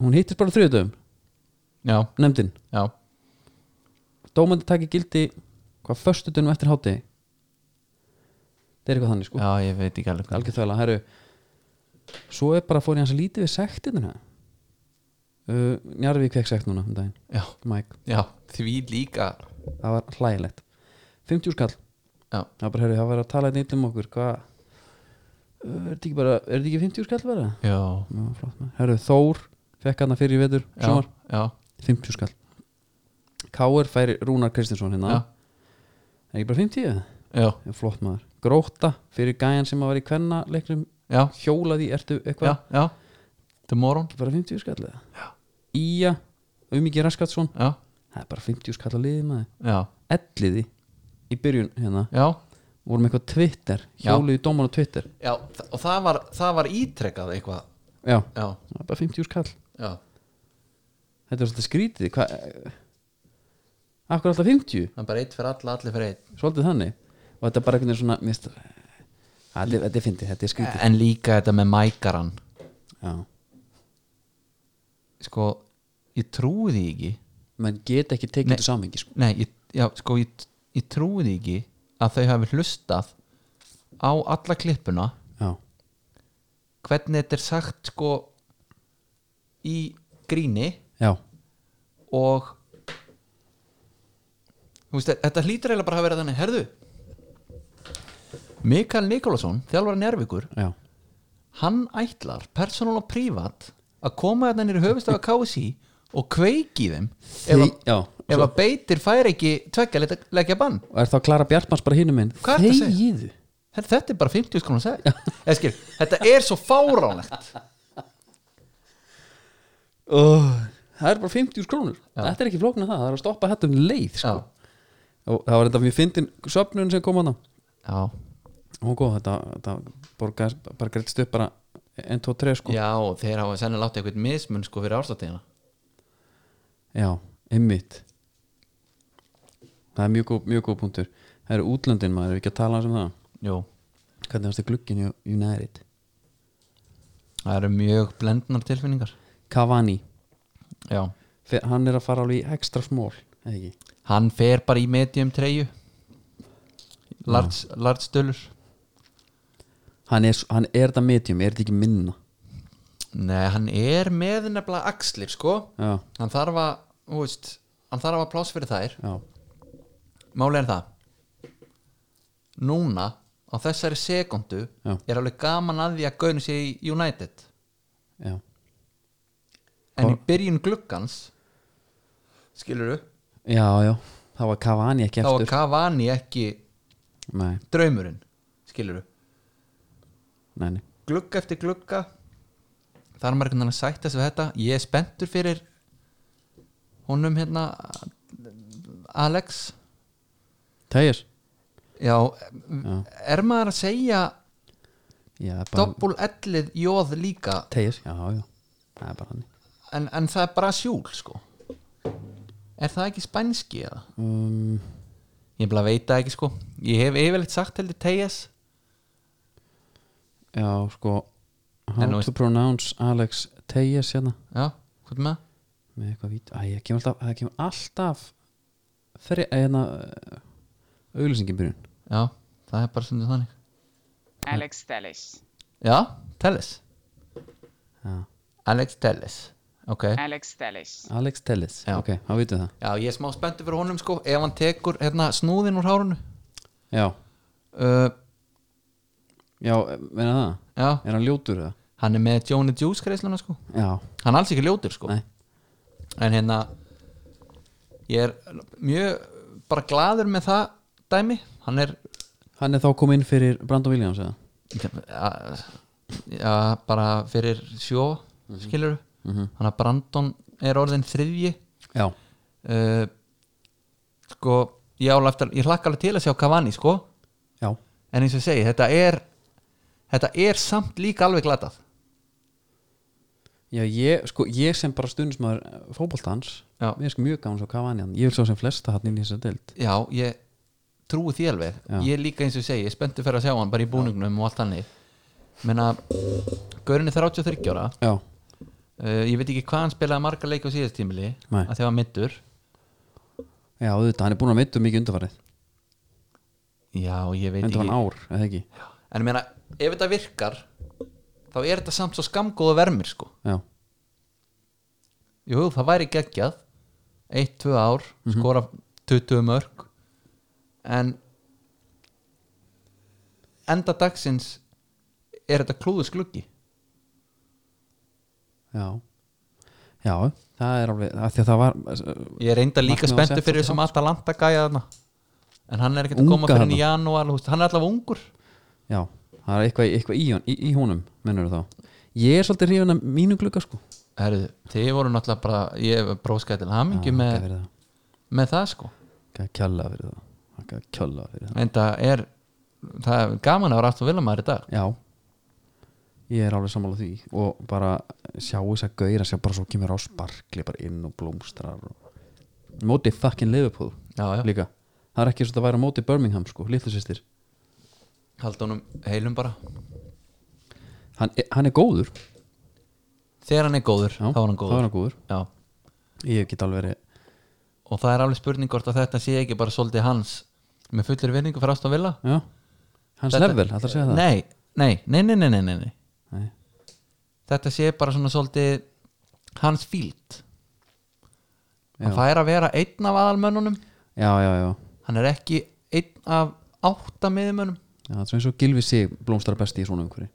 hún hittist bara þriðutum, já, nefndin já dómandi taki gildi hvað föstutunum eftir háti það er eitthvað þannig sko Já, ég veit ekki alveg hvað algjör þvæla, herru svo er bara fór ég hans lítið við sektina uh, Njarvík fekk sekt núna um daginn já, Mike, já, því líka það var hlægilegt 50 skall Já. það var bara, herri, það var að tala eitthvað um okkur hvað uh, er þetta ekki bara, er þetta ekki 50 skall verða? já, Já, flott maður. Herru, Þór fekk hana fyrir í vetur, já, sumar já, 50 skall Káir færi Rúnar Kristinsson hérna já, er ekki bara 50 eða? já, Já, flott maður Gróta fyrir gæjan sem að var í kvenna leiknum já, hjólaði, ertu já, eitthvað já tomorrow, ekki bara 50 skall eða? Ía, Umíki Raskatsson já, það er bara 50 skall að liði maður já, elliði í byrjun hérna já vorum eitthvað Twitter, Já. hjóluði dóman á Twitter Já, þa- og það var, það var ítrekkað eitthvað já, Já, það er bara 50 skall já, þetta er svolítið skrítið hvað eh, akkur alltaf 50, það er bara eitt fyrir alla, allir fyrir eitt svolítið þannig og þetta er bara einhvern veginn svona mist, allir, þetta er fyndið, þetta er skrítið En líka þetta með mækaran já, Sko, ég trúi því ekki menn geta ekki Nei. tekið þetta samhengi sko. Nei, ég, já, sko, ég, ég trúi því ekki að þau hafi hlustað á alla klippuna já, hvernig þetta er sagt sko í gríni já, og þú veist, þetta hlýtur eiginlega bara að vera þannig herðu Mikael Nikolásson, þjálfara Njárvíkur já hann ætlar persónal og prívat að koma hérna þetta nýri höfustafa KSI og kveiki í þeim ef að, Þi- já, ef að beitir fær ekki tvekja leggja, leggja bann og er þá Klara Bjartmanns bara hinum minn Hvað ertu að segja? þegiðu þetta, þetta er bara 50 skonar seg skil, þetta er svo fáránlegt oh, það er bara 50 krónur þetta er ekki flókn að það, það er að stoppa þetta um leið sko. já, og það var þetta mjög fyndin söfnun sem kom á það já, hún góð, þetta, þetta borgaðist bara greittst upp bara 1, 2, 3 sko já, já og þeir hafa sennilega átti eitthvað mismun sko fyrir ástættina einmitt það er mjög góð, mjög góð punktur það eru útlöndin maður, er ekki að tala um það Jú. hvernig varstu glukkin í United það eru mjög blendnar tilfinningar Cavani, já, Fe- hann er að fara alveg í extra smól eða ekki, hann fer bara í medium treyju large, large stölur hann er, s- hann er þetta medium er þetta ekki minna nei, hann er með nefnilega axlir sko já, hann þarf að, þú veist hann þarf að hafa pláss fyrir þær já, málið er það núna á þessari sekundu Já. er alveg gaman að því að gaunu sér í United já, en í byrjun gluggans skilur du já, já það var Cavani ekki þá var eftir Cavani ekki nei, draumurinn skilur du, nei, nei, glugga eftir glugga þar er maður einhvern veginn að sætta sig við þetta ég er spenntur fyrir honum hérna Alex tegir já, Já. er maður að segja já, bara doppul ellið jóð líka tegir, já, já, það er bara hann en, en það er bara sjúl sko er það ekki spænski eða? um, ég bara veit það ekki sko ég hef yfirleitt sagt heldur Tejas Já, sko En nú How to pronounce Alex Tejas hérna já, hvað með? með eitthvað vít Æ, það kemur alltaf, það kemur alltaf þri, eh, hérna auðlýsingin byrjun já, það er bara svona þannig Alex Telles. já, Telles Já. Alex Telles ok Alex Telles. Alex Telles, Já. ok, þá vitum við það já, ég er smá spenntur fyrir honum sko ef hann tekur hérna snúðin úr hárunu Já, uh, já, eh, meina það já, Er hann ljótur það? hann er með Johnny Juice greiðsluna sko Já, hann er alls ekki ljótur sko Nei. en hérna ég er mjög bara gladur með það dæmi hann er hann er þá komið inn fyrir Brandon Williams eða? já, já, bara fyrir sjó mm -hmm. skilur þannig að Brandon er orðin þriðji Já, uh, sko ég, ála eftir, ég hlakka alveg til að sjá Cavani sko já, en eins og ég segi, þetta er þetta er samt líka alveg glatað já ég, sko, ég sem bara stundismæður fótboltans Já. Mér er sko mjög gaman svo Cavani hann Ég vil svo sem flesta hann inn í þessar deild já, ég trúi því alveg Já. ég líka eins og ég segi, ég er spenntur fyrir að sjá hann bara í búningnum og allt hannig menna, Gaurin er 33 ára Já, uh, ég veit ekki hvað hann spilaði marga leik á síðast tímili Nei. að þegar hann middur já, þetta, hann er búin að meittu mikið undarfarið já, ég veit Endur ekki hann ár, eða ekki? En ég meina, ef þetta virkar þá er þetta samt svo skamgóða vermir sko Já, jú, það væri geggjað eitt, tvö ár, Mhm. skora 20 mörg en enda dagsins er þetta klúðu skluggi já já, það er alveg af því að það var eh, ég er reynda Markmið líka var spenntu sett á fyrir þessum Atalanta gæja þarna en hann er ekkert að Unga koma fyrir henni í þarna. janúar þú veist, hann er allavega ungur já, það er eitthvað, í- eitthvað í, hon, í, í honum mennur þá ég er svolítið hrifin af mínu glugga sko Herðu, þið voru náttúrulega bara ég bróskaði til hamingi Þakka með, fyrir það. með það sko Þakka kjalla fyrir það Þakka kjalla fyrir það en það er, það er gaman að vera aftur viljamaður í dag Já Ég er alveg sammála því og bara sjá þess að gauðir að sjá bara svo kemur á sparkli bara inn og blómstrar og... móti fucking Liverpool Já, já. líka það er ekki svo að væri á móti Birmingham sko, litlu sýstir halda honum heilum bara hann, er- hann er góður, þegar hann er góður, Já, þá er hann þá góður, er hann góður. Já. ég get alveg verið og það er alveg spurning hvort að þetta sé ekki bara svolítið hans með fullir vinningu fyrir aftur vilja já, hans level, ætlar að segja það nei, nei, nei, nei, nei, nei, nei, nei. Nei. þetta sé bara svona svolítið hans fílt hann Já. fær að vera einn af aðalmönnunum já, já, já, hann er ekki einn af átta miðumönnum já það er svo eins og gilfi sig blómstrar besti í svona umhverju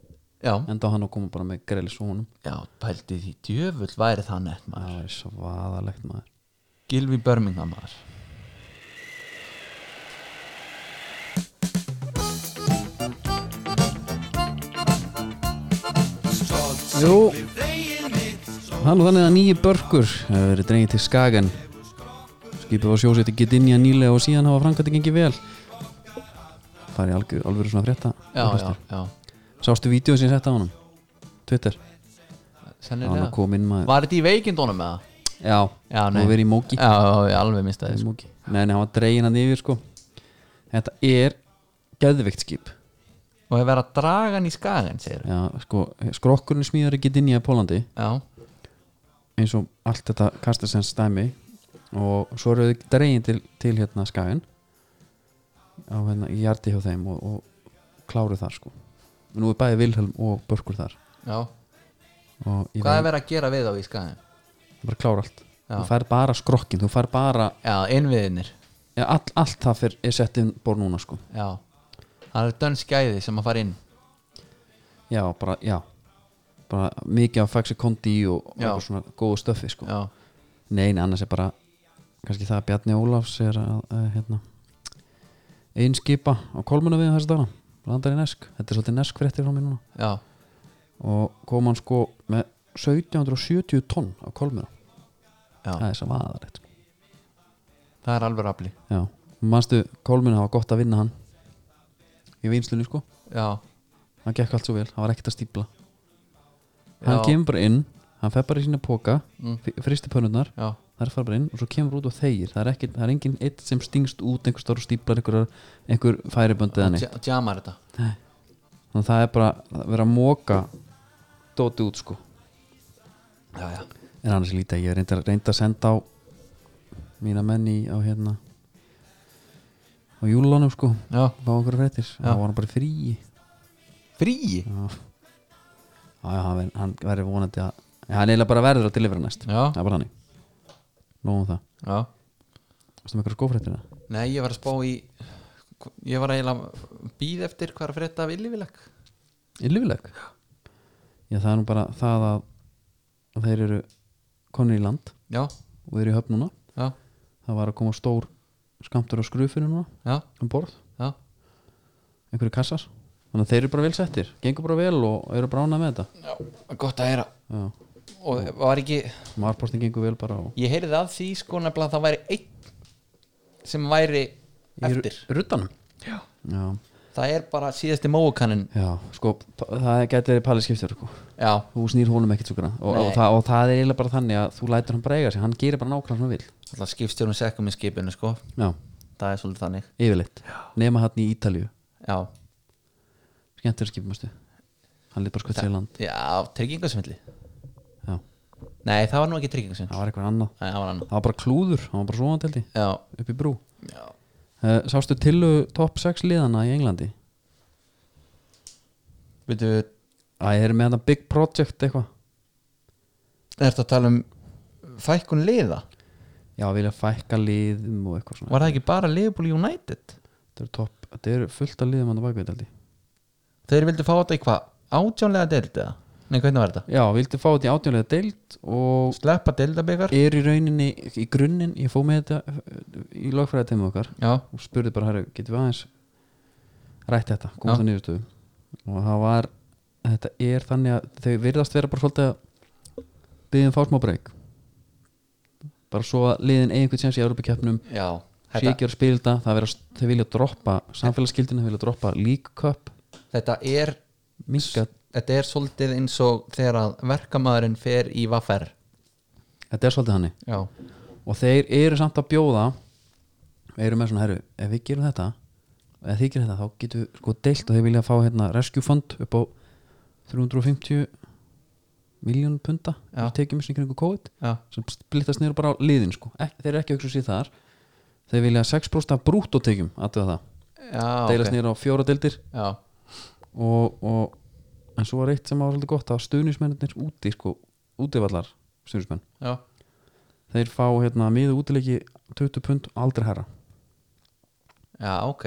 já, enda á hann að koma bara með greilis og honum já, pældi því djöfull væri það nett maður það er svaðalegt maður Gilvi Birmingham maður Jú Hann og þannig að nýju börkur hefur verið drengið til Skagan Skipið var sjósett í Gdynia nýlega og síðan hafa framkvæmt gengið vel Það er alveg, alveg svona frétta já, já, já, Sástu vídeo sem ég setta á honum Twitter, hann sennilega er komin maður var þetta í veikindunum með það? Já, Já, og nei. verið í móki já, já, já, alveg Í mistaði sko. móki. Nei, nei, hann var dregin hann yfir sko Þetta er geðveikt skip og hefur verið að draga hann í skagan segir Já, sko, skrokkurinn smíðar í Gdynia í Pólandi já, eins og allt þetta Kastelsens dæmi og svo eru þau dregin til, til hérna skæðin á hérna í hjarti hjá þeim og, og kláru þar sko nú er bæði Vilhelm og Börkur þar já og ég hvað er verið að gera við þá í skagan? bara klára allt Já. þú fær bara skrokkin, þú fær bara já, innviðinir ja, all, allt það fyrr er sett inn bór núna sko já, það er dönn skæði sem að fara inn já, bara, já bara mikið á faxi kondi og, og Já. eitthvað svona góðu stöfi sko já, Nei, nei, annars er bara kannski það að Bjarni Ólafs er að, að hérna, einskipa á kolmuna við þessi dana landar í Nesk, þetta er svolítið Nesk fréttir frá mér núna já, og kom hann sko með 1770 tonn á kolmuna já það er svo vaðarlegt sko. það er alveg rafli Já, manstu, kolmuna hafa gott að vinna hann í vinslunni sko já, hann gekk allt svo vel, hann var ekkert að stípla hann Já. kemur bara inn, hann fer bara í sína póka mm. fristi pönnurnar já, það er fara bara inn og svo kemur út og þeir það er, ekki, það er engin eitt sem stingst út einhver stóru stíplar, einhver, einhver færibönd eða neitt, Dja- djamar þetta þannig að það er bara að vera að móka dóti út sko já, já, en annars lítið, ég reyndi, reyndi að senda á mína menn í á hérna á júlunum sko já. fá okkur fréttir, Já. það var hann bara í fríi fríi já, já, já hann, ver- hann verður vonandi að já, hann eiginlega bara verður að delivera næst Já. það er bara hann nóðum það, já, varstu með eitthvað skófréttina? nei, ég var að spá í ég var eiginlega býð eftir hvað er að frétta af illivileg í lifileg já það er nú bara það að að þeir eru konir í land já, og eru í höfn núna já, það var að koma stór skamtur á skrufinu núna já, um borð, já einhverju kassar þannig að þeir eru bara vel settir, gengur bara vel og eru bránað með þetta já, gott að heyra já. og var ekki, marpostin gengur vel bara og ég heyrði að því sko nefnilega að það væri einn sem væri eftir í ruttanum já. já, það er bara síðasti móukannin já sko, pa- það gæti verið palið skiptir sko. já, þú snýr hólum ekkert svo grann og, og, Nei. það, og það er eiginlega bara þannig að þú lætur hann bara eiga sig hann gerir bara nákvæmlega svona vil alltaf skipstjórnum sekkum í skipinu sko já, það er svolítið þannig yfirleitt, nema hann í Ítalíu já, skemmtir skipumastu hann lít bara skvætt sér í land já tryggingasvindli Já, nei, það var nú ekki tryggingasvindli það var eitthvað annað nei, það var annað Það var bara klúður, það var bara svona telti já, upp í brú já. uh, Sástu tillu top 6 liðana í Englandi? Veitu, Æ, þeir eru með þetta Big Project eitthvað er þetta að tala um fækkun liða já, vilja fækka liðum og eitthvað svona var það ekki bara Liverpool United þetta er topp, þetta er fullt af liðum hann að baka þetta held ég. þeir vildu fá þetta í hvað átjónlega deildið nei hvernig var þetta já, vildi fá þetta í átjónlega deild og sleppa deildabikar er í rauninni, í grunninn ég fóð með þetta uh, í lögfræða teimum okkar já og spurði bara, herru, getum við aðeins rætt þetta, komum Já. það niðurstöðu og það var, þetta er þannig að þau virðast vera bara svolítið að byggðum fá smá breyk bara svo að liðin eigi einhvern séns í Európa-keppnum já sé þetta, ekki að spila þetta, það vera, þau vilja droppa samfélagsskildina, þau vilja droppa League Cup þetta er minka, þetta er svolítið eins og þegar að verkamæðurinn fer í vaffer þetta er svolítið hannig já og þeir eru samt að bjóða eru með svona, herru, ef við gerum þetta ef þið gerum þetta, þá getum við sko deilt og þeir vilja fá hérna rescue fund upp á 350 miljón punta Já. tekjum sem ykkur COVID já sem splittast niður bara á liðin sko Ek, þeir eru ekki að hugsa sér þar þeir vilja 6% af brúttótekjum aðtöða það, já, deilast ok. niður á fjóra deildir já, og, og en svo var eitt sem var svolítið gott að stuðnismennir úti sko, útivallar stuðnismenn já, þeir fá hérna miðu útileiki 20 pund aldrei herra já, ok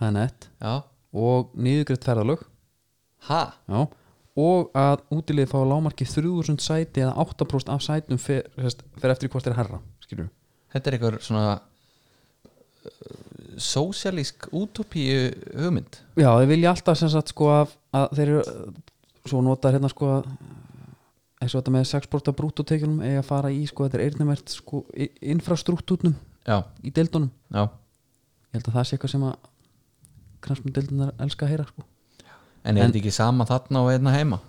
það er nett já, og niðurgreitt ferðalög ha, já, og að útilegið fá að lámarki 3000 sæti eða 8% af sætum fer, sest, fer eftir í hvort er herra skilur þetta er einhver svona uh, sósialísk útopíu hugmynd já, þeir vilja alltaf sem sagt sko að, að þeir eru uh, svo notar hérna sko að eins og þetta með 6% af brúttótekjunum eigi að fara í sko, þetta er eirnumert sko i- infrastruktúrnum já, í deildunum já ég held að það sé eitthvað sem að kransmund deildunar elska að heyra sko en er En- þetta ekki sama þarna og einna heima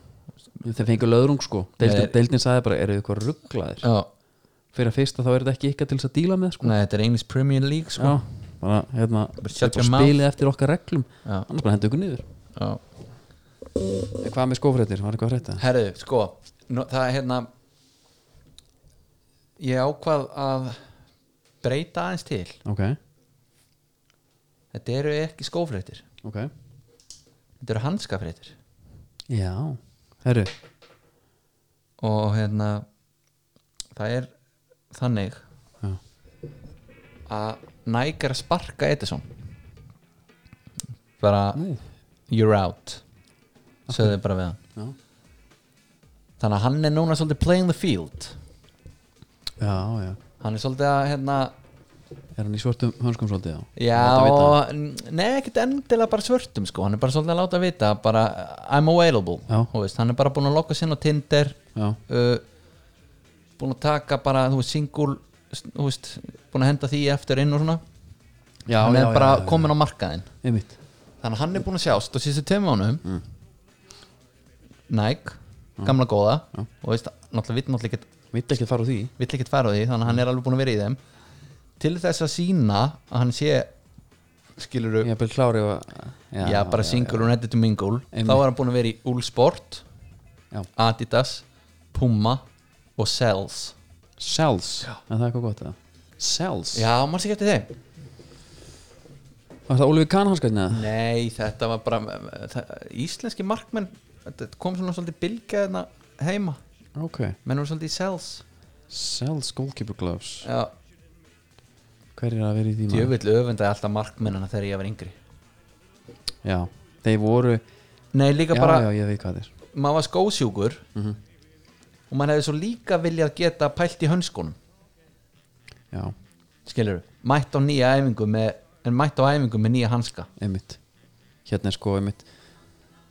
þeir fengur löðrung sko, deildin, Nei. deildin sagði bara eru þið eitthvað rugglaðir, já, fyrir að fyrsta þá er þetta ekki ykkar til þess að díla með sko nei, þetta er English Premier League sko. Já, bara hérna Bara shut bara your mouth. spilið eftir okkar reglum Já. annars bara hendur ykkur niður já, Eh, Hvað með skófréttir, var eitthvað að frétta? herðu, sko nú, það er hérna ég ákvað að breyta aðeins til Ok, þetta eru ekki skófréttir ok þetta eru handskafréttir Já, herru, og hérna það er þannig Já. að Nike er að sparka Edison bara Nú. you're out sögðu bara við hann Já. þannig að hann er núna svolítið playing the field já, já hann er svolítið að hérna Er hann í svartum hönskum svolítið á? já, og- nei ekkert endilega bara svörtum sko, hann er bara svolítið að láta vita bara I'm available Já. þú veist, hann er bara búin að lokka sinna á Tinder Já, uh, búin að taka bara þú veist, single þú veist, búin að henda því eftir inn og svona já, hann já, er bara já, já. komin á markaðinn Einmitt þannig að hann er búin að sjást og síðustu tveim ánum mm. Nike, gamla góða og veist, náttúrulega vill náttúrulega ekkert Vill ekki að fara úr því vill ekkert fara á því þannig að hann er alveg búin að vera í þeim til þess að sína að hann sé skilur Ég er bara klárið að já, bara single og ready to mingle Einmitt. þá er hann búin að vera í Ulsport Já. Adidas, Puma og Sells Cells, en það er eitthvað gott eða Cells já, maður sé ekki eftir þeim Var það Ólfi Kahn hanskæðin eða? Nei, þetta var bara það, Íslenski markmenn Þetta kom svona svolítið bylgjaðina heima Ok Menn voru svolítið í sales Cells Mm-hmm. Goalkeeper Gloves Já, Hver er að vera í því maður? djöfull öfundaði alltaf markmennana þegar ég var yngri Já, þeir voru Nei, líka Já, bara, já, Mhm. ég veit hvað þeir maður var skósjúkur Og maður hefði svo líka viljað geta pælt í hönskunum Já, Skilur, mætt á nýja æfingu með En mætt á æfingu með nýja hanska einmitt hérna er sko einmitt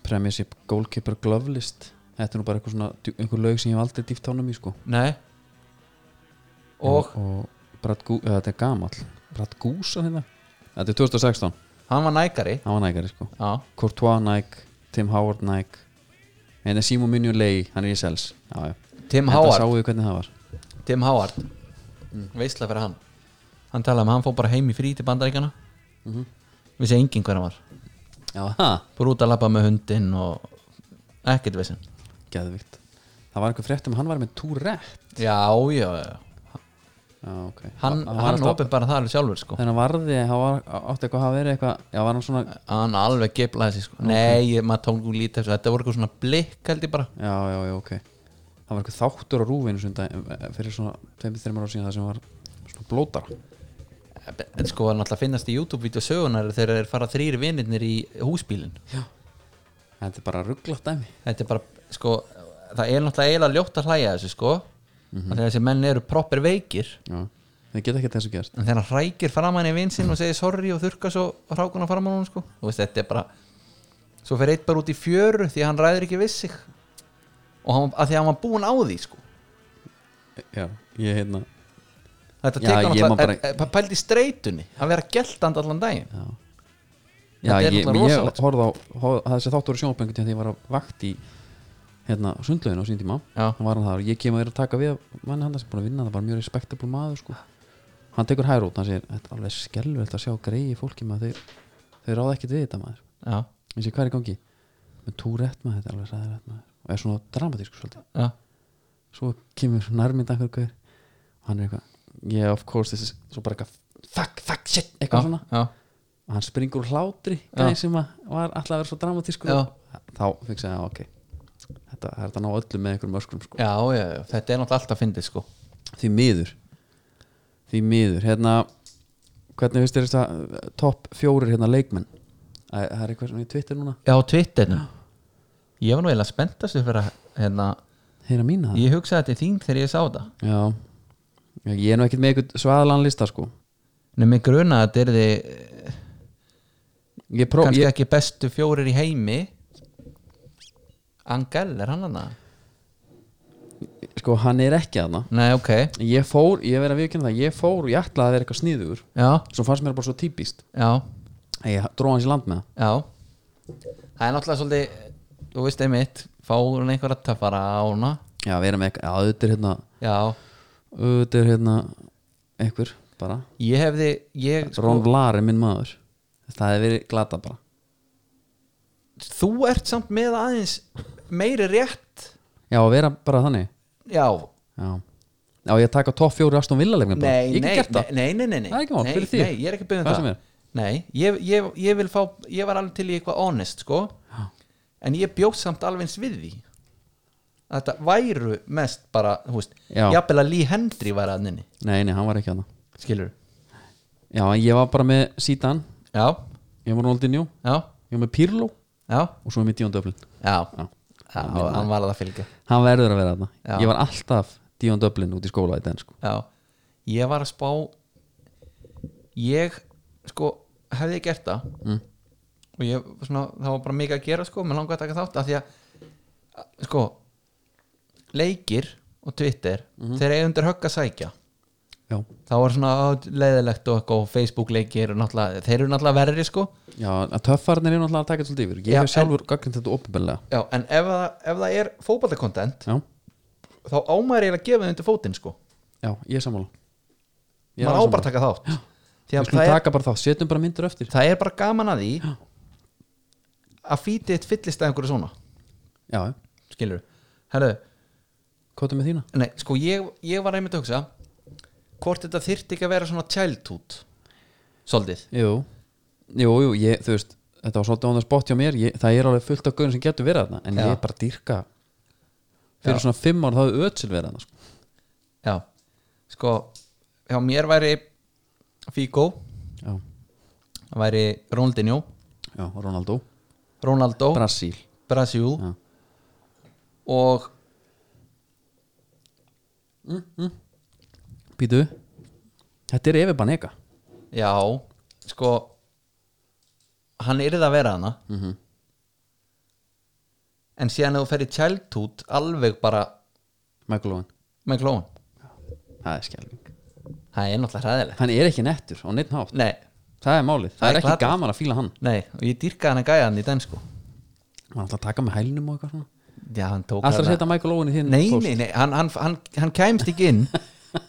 premissi goalkeeper glove list þetta er nú bara eitthvað svona djú- einhver lög sem ég hef aldrei dýft ánum í sko Nei Og og Brad Gú, eða, þetta er gamall Brad Gúsa hérna þetta er 2016, hann var nækari hann var nægari sko Já, Courtois næg, Tim Howard næg en Simon Mignon Ley, hann er í sels já, já. þetta Tim Um Howard sáu við hvernig það var Tim Howard veisla fyrir hann hann talaði um að hann fór bara heim í frí til bandaríkjana Mhm. vissi enginn hver hann var já, ha, fór út að labba með hundinn og ekkert vissin geðvikt það var einhver fréttum, hann var með Tourette já, já, já já, ok hann, var hann alltaf- opið bara það alveg sjálfur sko þennan varði, hann var, átti eitthvað að hafa verið eitthvað já, var hann svona, hann alveg geplaði sig sko nei, ég, maður tók nú lítið eftir þessu. þetta voru eitthvað svona blikk held ég bara já, já, já, ok það var eitthvað þáttur á rúfinu sunda, fyrir svona 2-3 ára síðan það sem var svona blótara En sko hann alltaf finnast í YouTube-vídeó sögunar er þegar þeir fara þrýri vinirnir í húsbílinn þetta er bara rugglat dæmi Þetta er bara, sko það er náttúrulega eiginlega ljótt að hlæja að þessu sko mm Þegar þessi menn eru proper veikir já. það geta ekki þessu gerst en þegar hann hrækir framan í vinn sinn og segir sorry og þurka svo hrákuna framan á hann sko. Þú veist, þetta er bara svo fer eitt bara út í fjöru því að hann ræður ekki við sig og hann, að því að hann var búinn á því sko. já, ég hérna Já, þetta tekur hann ég man alltaf bara- bara... er, er, pælt í streitunni að vera geltand allan já, daginn já Þetta er ég, ég náttúrulega rosalegt. horfði á horfði, að þessi þáttur á sjónpengu til því að ég var að vakt í hérna, sundlauginu á sín tíma Já. hann var hann þar og ég kem að vera að taka við manni hann sem búin að vinna, það var mjög respektabl maður sko. hann tekur hærút, hann segir þetta er alveg skelvöld að sjá greiði fólki maður þeir, þeir ráða ekkert við þetta maður já, ég sé hvað er í gangi með túrætt maður, þetta er alveg ræðrætt maður og er svona dramatísk svolítið já, svo kemur nærmynd einhver gaur og hann er eitthvað yeah of course this is svo bara eitthvað fuck fuck shit eitthvað svona já, og hann springur úr hlátri Já. gæði sem að var alltaf að vera svo dramatískur Já. þá fikk segja ok þetta það er þetta að ná öllu með einhverjum öskrum sko. já, já, já, þetta er náttúrulega alltaf fyndið sko. því miður því miður hérna hvernig finnst þér þess að topp fjórir hérna leikmenn Æ, það er eitthvað sem ég Twitter núna já, á Twitterinu ég var nú eiginlega spenntast fyrir að hérna, heyra mína það ég hugsaði þetta í þín þegar ég sá þetta já ég er nú ekkert með eitthvað svaðalan lista sko nema mig gruna að þetta er þið ég pró kannski ég, ekki bestu fjórir í heimi Angel, er hann hann sko hann er ekki aðna Nei, ok, ég fór, ég verið að viðkynna það ég fór, ég ætlaði að vera eitthvað sniður já, svo fannst mér bara svo típist já, að ég dróð hans í land með það já Það er náttúrulega svolítið, þú veist einmitt fá hún einhver að töffara á hana já, vera með eitthvað, já, auðvitað er hérna Já, auðvitað er hérna einhver, bara, ég hefði ég, sko, Ron Vlaar er minn maður það hefði verið glata bara Þú ert samt með aðeins meiri rétt já, að vera bara þannig Já, já, já ég taka topp fjóri Aston Villa leikmenn bara. nei, ég nei, get gert það nei, nei, nei, nei Það er ekki mál, nei, fyrir þig. nei, ég er ekki byggðum Hvað það sem er. Nei, ég, ég, ég vil fá ég var alveg til í eitthvað honest, sko Já. en ég bjóð samt alveg eins við því að þetta væru mest bara, þú veist, Já. jafnvel að Lee Hendry væri að nynni, nei, nei, hann var ekki aðna skilur já, en ég var bara með Sítan já, ég var Róldinjó, já, ég var með Pirlo já, og svo með Díon Döflin já, já, já hann var að það fylgja hann verður að vera aðna Já. ég var alltaf Díon Döflin út í skóla í den sko. já, ég var að spá ég sko, hefði ég gert það mm. og ég, svona, það var bara mikið að gera sko, mér langaði að taka þátt að því að sko leikir og Twitter Mhm. þeir eiga undir högg að sækja já, það var svona á, leiðilegt og eitthvað og Facebook leikir og náttúrulega, þeir eru náttúrulega verri sko já, að töffarnir er náttúrulega að taka þetta svolítið yfir ég Já, hef sjálfur gagnið þetta opinbælega já, en ef það, ef það er fótballakontent já, þá ámæður eiginlega að gefa þau undir fótinn sko já, ég er sammála Ég er maður á alveg bara að sammála. taka þátt því Við að skulum það er, taka bara þá, setjum bara myndir eftir það er bara gaman að því að fítið þitt fyllist að einhverju svona já, skilur, herru hvað er með þína? nei, sko ég, ég var einmitt að hugsa hvort þetta þyrfti ekki að vera svona childhood svolítið Jú, jú, jú ég, þú veist þetta var svolítið ánum spott hjá mér ég, það er alveg fullt af gauðin sem getur verið þarna en Já. ég er bara að dýrka fyrir svona fimm ár þá hefur ötsil verið þarna sko. já, sko hjá mér væri Figo, já, væri Ronaldinho já, Ronaldo Ronaldo, Brasil Brasil Já. og Býtu, þetta er Evi Banega já, sko hann yrði að vera hana Mhm. -hmm. en síðan ef þú ferði childhood alveg bara Michael Owen, með klóun það er skelving það er náttúrulega hræðilegt hann er ekki nettur á neitt hátt nei, það er málið, það, Það er er ekki glatað. gaman að fíla hann nei, og ég dýrkaði hann að gæja hann í den sko hann er alltaf að taka með hælnum og eitthvað svona já, hann tók alltaf að hana- setja Michael Owen í þinn nei, post. nei, nei, hann, hann, hann, hann kæmst ekki inn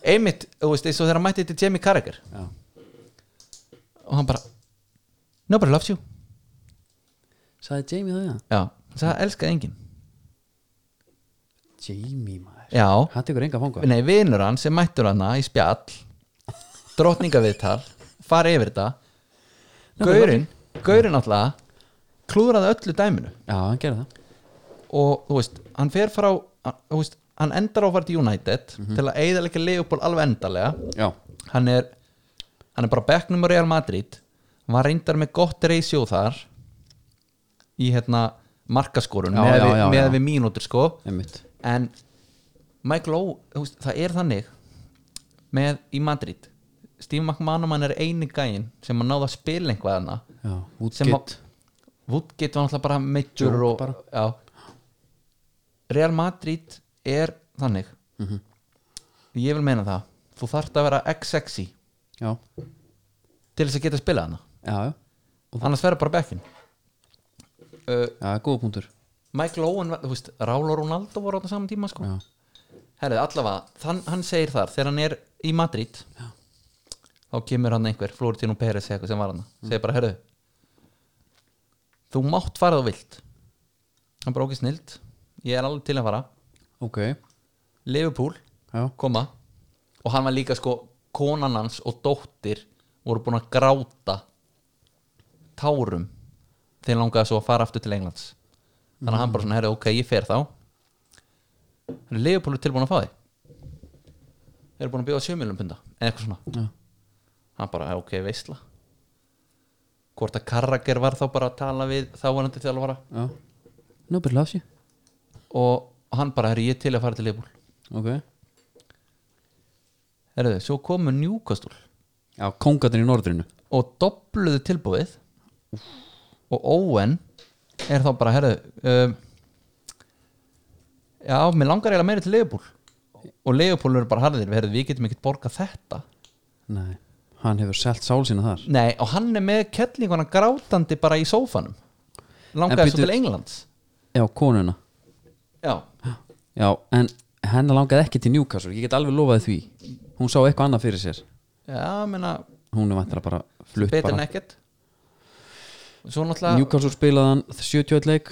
einmitt, þú veist, eins og þegar hann mætti þetta Jamie Carragher Já. og hann bara nobody loves you sagði Jamie það, já já, það elskaði enginn Jamie maður já, hann tekur enga fanga Nei, vinur hann sem mættur hann í spjall drottningaviðtal fara yfir þetta Gaurinn, Gaurinn alltaf klúðraði öllu dæminu já, hann gerir það og þú veist, hann fer frá hann, þú veist, hann endar á að fara til United Mhm. til að eiginlega Leopold alveg endarlega já, hann er hann er bara á bekknum á Real Madrid hann var reyndar með gott reysjó þar í hérna markaskorun Já, með, já, já, með já. við mínútur sko einmitt en Michael Ow þú veist, það er þannig með í Madrid Steve McManaman er eini gæinn sem að náða að spila einhvað hana já, sem að útgitt Woodgate var náttúrulega bara meittur Jók og bara. Já. Real Madrid er þannig Mhm. ég vil meina það þú þarft að vera x-sexy já, til þess að geta að spila hana já, já, annars verður bara bekkin uh, já, góða punktur Michael Owen, var- þú veist, Rála og Ronaldo voru á þetta saman tíma sko Já. herrið, allavega, þann, hann segir þar þegar hann er í Madrid Já. þá kemur hann einhver, Florentino Pérez eða eitthvað sem var hann, segir bara, herrið þú mátt fara þú vilt hann bara okkar snild ég er alveg til að fara, ok, Liverpool já, koma, og hann var líka sko konan hans og dóttir voru búin að gráta tárum þegar hann langaði svo að fara aftur til Englands þannig að hann bara svona, herri, ok, ég fer þá Leopold er tilbúin að fá því þeir eru búin að bjóða 7 miljonum punda eða eitthvað svona Já. hann bara, ok, veistla hvort að Karrager var þá bara að tala við þáverandi þjálfara já nobody loves you og hann bara, herri, ég er til að fara til Leopold ok, herri, svo komu Newcastle já, kongarnir í norðrinu og dobluðu tilbúið og Owen er þá bara, herðu um, já, mér langar eiginlega meira til Leopold og Leopold eru bara harðir, herðu, við getum ekkert borgað þetta nei, hann hefur selt sál sína þar nei, og hann er með kettlinguna grátandi bara í sófanum En langaði svo býtu- til Englands já, konuna, já, já, en hennar langaði ekki til Newcastle, ég get alveg lofaði því hún sá eitthvað annað fyrir sér já, menna hún er vantilega bara flutt betur en bara ekkert svo náttúrulega Newcastle spilaði hann 71 leik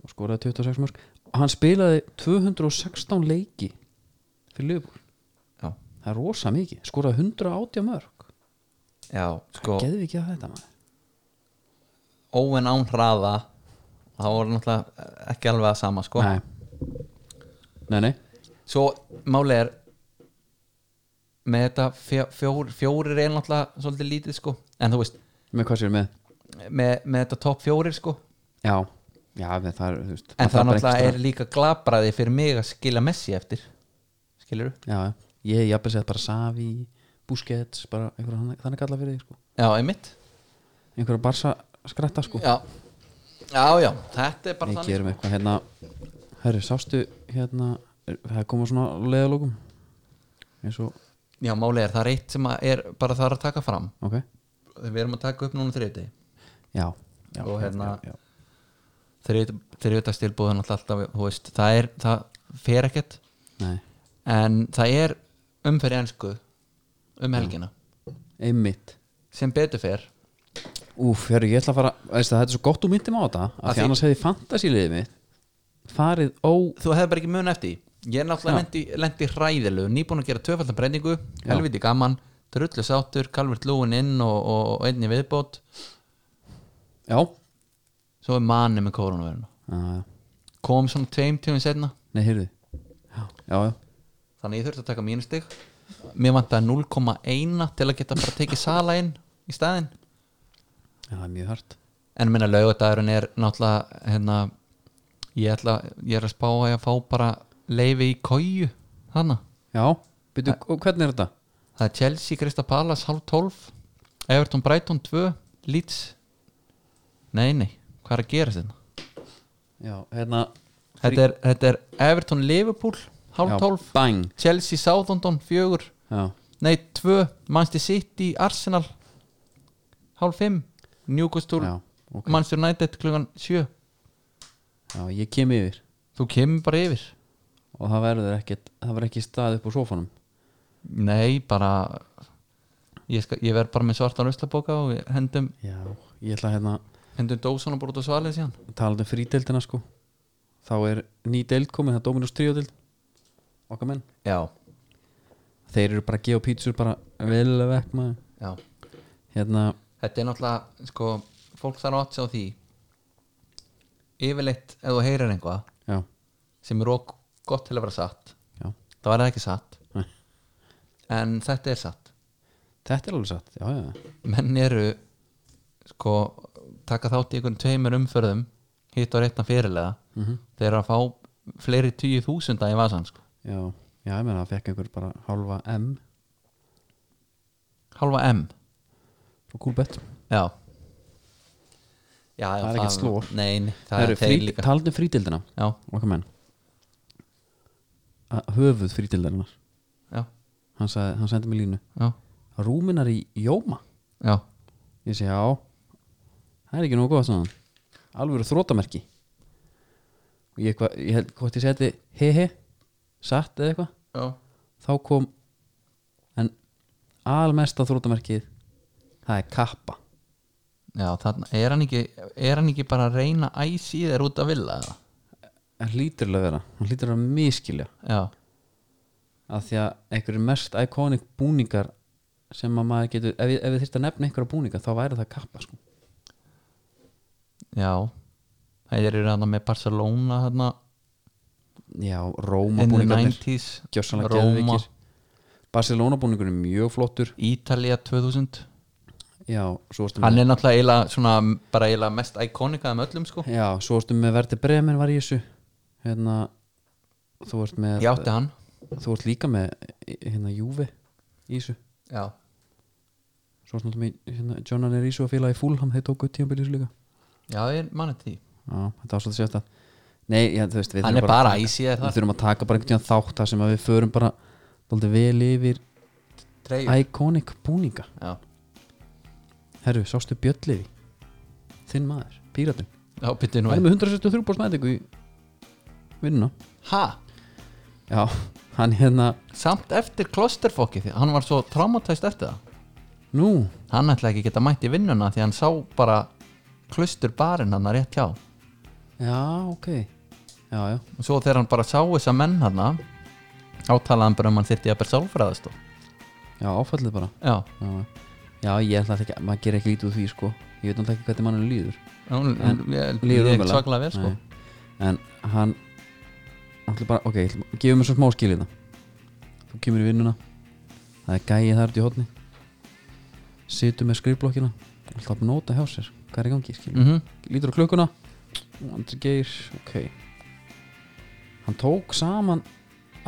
og skoraði 26 mörg hann spilaði 216 leiki fyrir Liverpool já, það er rosa mikið, skoraði 180 mörg já, sko geðu ekki að þetta maður Owen án hraða það voru náttúrulega ekki alveg að sama sko nei. nei, nei, svo máli er með þetta fjó, fjór, fjórir er náttúrulega svolítið lítið sko en þú veist, með hvað sér með með, með þetta topp fjórir sko já, já, við- það er þú veist, maður en það þarf bara náttúrulega einhvers er líka glabraði fyrir mig að skila Messi eftir skilur staðar- já, já, ég hef jafnveg sett bara Savi, Busquets bara einhverja hann- þannig kalla fyrir þig sko. já, einmitt einhverja barsa skratta sko já, já, já, þetta er bara við þannig sko. gerum eitthvað hérna herri, sástu hérna er- það koma svona leiðalókum eins og, já, máli er, það er eitt sem að er bara það er að taka fram ok við erum að taka upp núna um þriðti já, já Og já, hérna- já, já. þriðta stilbúðan alltaf, þú veist, það er það fer ekkert, nei, en það er umferði ensku um helgina einmitt sem betur fer úf, herri, ég ætla að fara veist, það þetta er svo gott úr myndum á þetta af því Að því- annars hefði fantasíliðið mitt farið ó, þú hefði bara ekki mun eftir því. ég er Já. náttúrulega lendi hræðilegu nýbúin að gera tvöfaldan brenningu, helviti gaman drullu sáttur, Calvert Lúin inn og, og, og einni viðbót já, svo er manni með koronaviruna já, já. kom svona tveim tímum setna nei, heyrðu já, já, já, þannig ég þurfti að taka mínustig mér vantaði 0,1 til að geta bara tekið sala inn í staðinn já, það er mjög hart en minna laugardagurinn er náttúrulega hérna, ég, ætla, ég er að spá að ég að fá bara leifi í kóju þannig já, byrju, og hvernig er þetta? Það er Chelsea, Krista Palace, halv 12 Everton, Brighton, 2 Leeds Nei, nei, hvað er að gera þetta? já, hérna Þetta er, þetta er Everton, Liverpool halv já, 12, bang, Chelsea, Southampton 4, já, nei 2 Manchester City, Arsenal halv 5 Newcastle, já, ok Manchester United klukkan 7 já, ég kem yfir Þú kemur bara yfir og það verður ekkert, það verður ekki stað upp á sófanum Nei, bara ég, skal, ég verð bara með svartan ruslabóka og við hendum, já, ég ætla hérna hendum dósana bara út á svalið síðan talað um frídeildina sko þá er ný deild komin, það er Dominus 3 deild okkar menn, Já, þeir eru bara að gefa pítsur bara vel vekk maður já hérna, þetta er náttúrulega sko, fólk þarf að átt sig á því yfirleitt ef þú heyrir einhvað já, sem er ok gott til að vera satt já. það var ekki satt Nei. en þetta er satt Þetta er alveg satt, já, já, menn eru sko, taka þátt í einhvern tveimur umferðum hitt og réttan fyrirlega mm Mhm. -hmm. þeir eru að fá fleiri tíu þúsunda í vasan sko. já Já, ég meina, það fekk einhver bara hálfa M halva M frá Coolbet já já, já Það er ekkert slór. nein, Það eru er þeir frít, líka talandi um frítildina já, okkar menn Að höfuð frítildarinnar já, hann, sagði, hann sendi mér línu já, rúminar í Jóma já ég segi já það er ekki nógu gott svona alveg þrótamerki og ég, eitthvað- ég held hvort ég seti hehe satt eða eitthvað já, þá kom en almesta þrótamerkið það er kappa já þarna, er hann ekki er hann ekki bara að reyna að æsi þeir út að vilja eða? hann hlýtur alveg að vera hann hlýtur að miskilja já, af því að einhverju mest iconic búningar sem að maður getur ef, ég- ef við þyrst að nefna einhverja búningar þá væri það kappa sko. já þeir eru hann með Barcelona þarna já, Róma in the búningarnir 90s gjössanlega Róma, geðvikir Barcelona búningur er mjög flottur Ítalía 2000 já, svo varstu hann með, er náttúrulega eila, svona, bara eila mest ikonika um öllum sko já, svo varstu með Verdi Bremen var í þessu hérna þú ert með ég átti hann þú ert líka með hérna Juve í þessu já, svo varstu náttúrulega með hérna, John Arisu að fíla í Fulham þeir tóku tíðanbyrði þessu líka já ég manna því já, þetta var svo að sérsta nei, já, þú veist við hann þurfum er bara æsi er við það þurfum að taka bara einhvern tíðan þátt þar sem að við förum bara dálítið vel yfir treyjur iconic búninga já, herru, sástu Bjölliði þinn maður, píratinn já byttu nú hann er einn með 163 bórs nætingu í vinnuna ha, já, hann hérna samt eftir klosterfokki því hann var svo traumatæst eftir það nú, hann ætla ekki geta mætt í vinnuna því hann sá bara klustur barinn hann rétt hjá og já, ok já, já, svo þegar hann bara sá þessa menn hann átalaði hann bara um hann þyrfti að bera sálfræðast já, áfallið bara já, já, já. já ég ætla ekki, maður gerir ekki lítið úr því sko ég veit náttúrulega ekki hvernig mannum líður hún líður líður ekki ömurlega. svaklega vel sko Nei. en hann ætla bara, ok, ég ætla- gefum mér svo smá skil í það þú kemur í vinnuna það er gæið það út í hotni situr með skrifblokkina alltaf að nota hjá sér, hvað er í gangi skil mm lítur á klukkuna Nú, Andri Geir, ok hann tók saman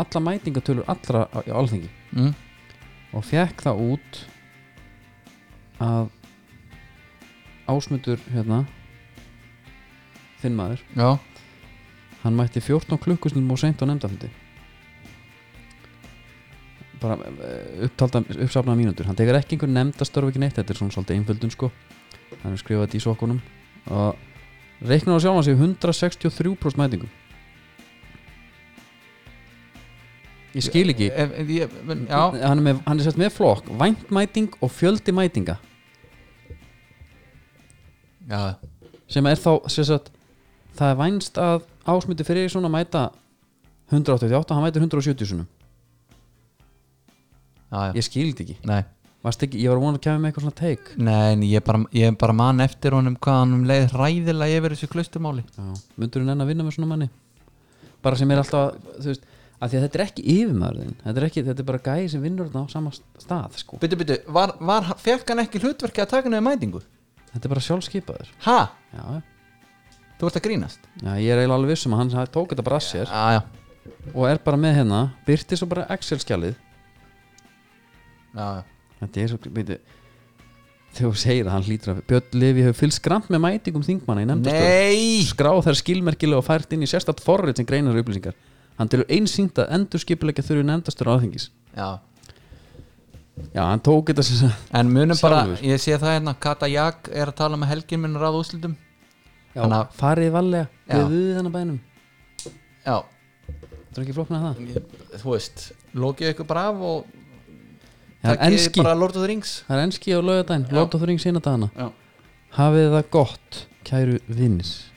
alla mætingatölur allra á, á alþingi mm. og fekk það út að ásmutur hérna þinn maður, já hann mætti 14 klukkustundum og seint á nefndafundi bara eh, upptalda, uppsafnaða mínútur hann tekur ekki einhver nefndastörf ekki neitt þetta er svona svolítið einföldun sko hann er skrifað þetta í sokkunum og reiknar á sjálfan sig 163% mætingu ég skil ekki ef, ef, ég, men- já, hann er, með, hann er sett með flokk væntmæting og fjöldi mætinga já, sem er þá sem sagt, það er vænst að ásmuti fyrir svona mæta 188, hann mætir 170 sunum já, já. ég skildi ekki, Nei. Varstu ekki ég var vonað að kemja með eitthvað svona teik Nei, en ég bara, ég bara man eftir honum hvað hann um leið ræðilega yfir þessu klustumáli myndur hann enn að vinna með svona manni bara sem er alltaf þú veist, af því að þetta er ekki yfirmaðurðin þetta er, ekki, þetta er bara gæði sem vinnur þarna á sama stað sko. Byttu, byttu, var, var, fekk hann ekki hlutverki að taka nefnir mætingu? þetta er bara sjálfskipaður Ha? já, Þú ert að grínast? já, ég er eiginlega alveg vissum að hann tók þetta bara að sér Já, já, og er bara með hérna, byrti svo bara Excel-skjalið já, já. Þetta er svo, veitu Þegar þú segir að hann hlýtur að Björn Levi hefur fylgst grann með mætingum þingmanna í sko. nefndastöð Nei! Skráð þær skilmerkilega og fært inn í sérstætt forrið sem greinar upplýsingar Hann telur einsýnt að endur skipulegja þurfi nefndastöð áþengis Já, Já, hann tók þetta sem sagt en munum bara, Sjálfur. ég sé það hérna Kata Jak er að tala með helgin minn ráð úslitum Já, Þannig að- farið valega Já. Við við þennan bænum Já, Þetta er ekki flóknað það ég, þú veist, lokið ykkur bara af og Það er takið enski bara Lord of the Rings Það er enski á laugardaginn Láta þurring sína dagana Já, Hafið það gott, kæru vinnis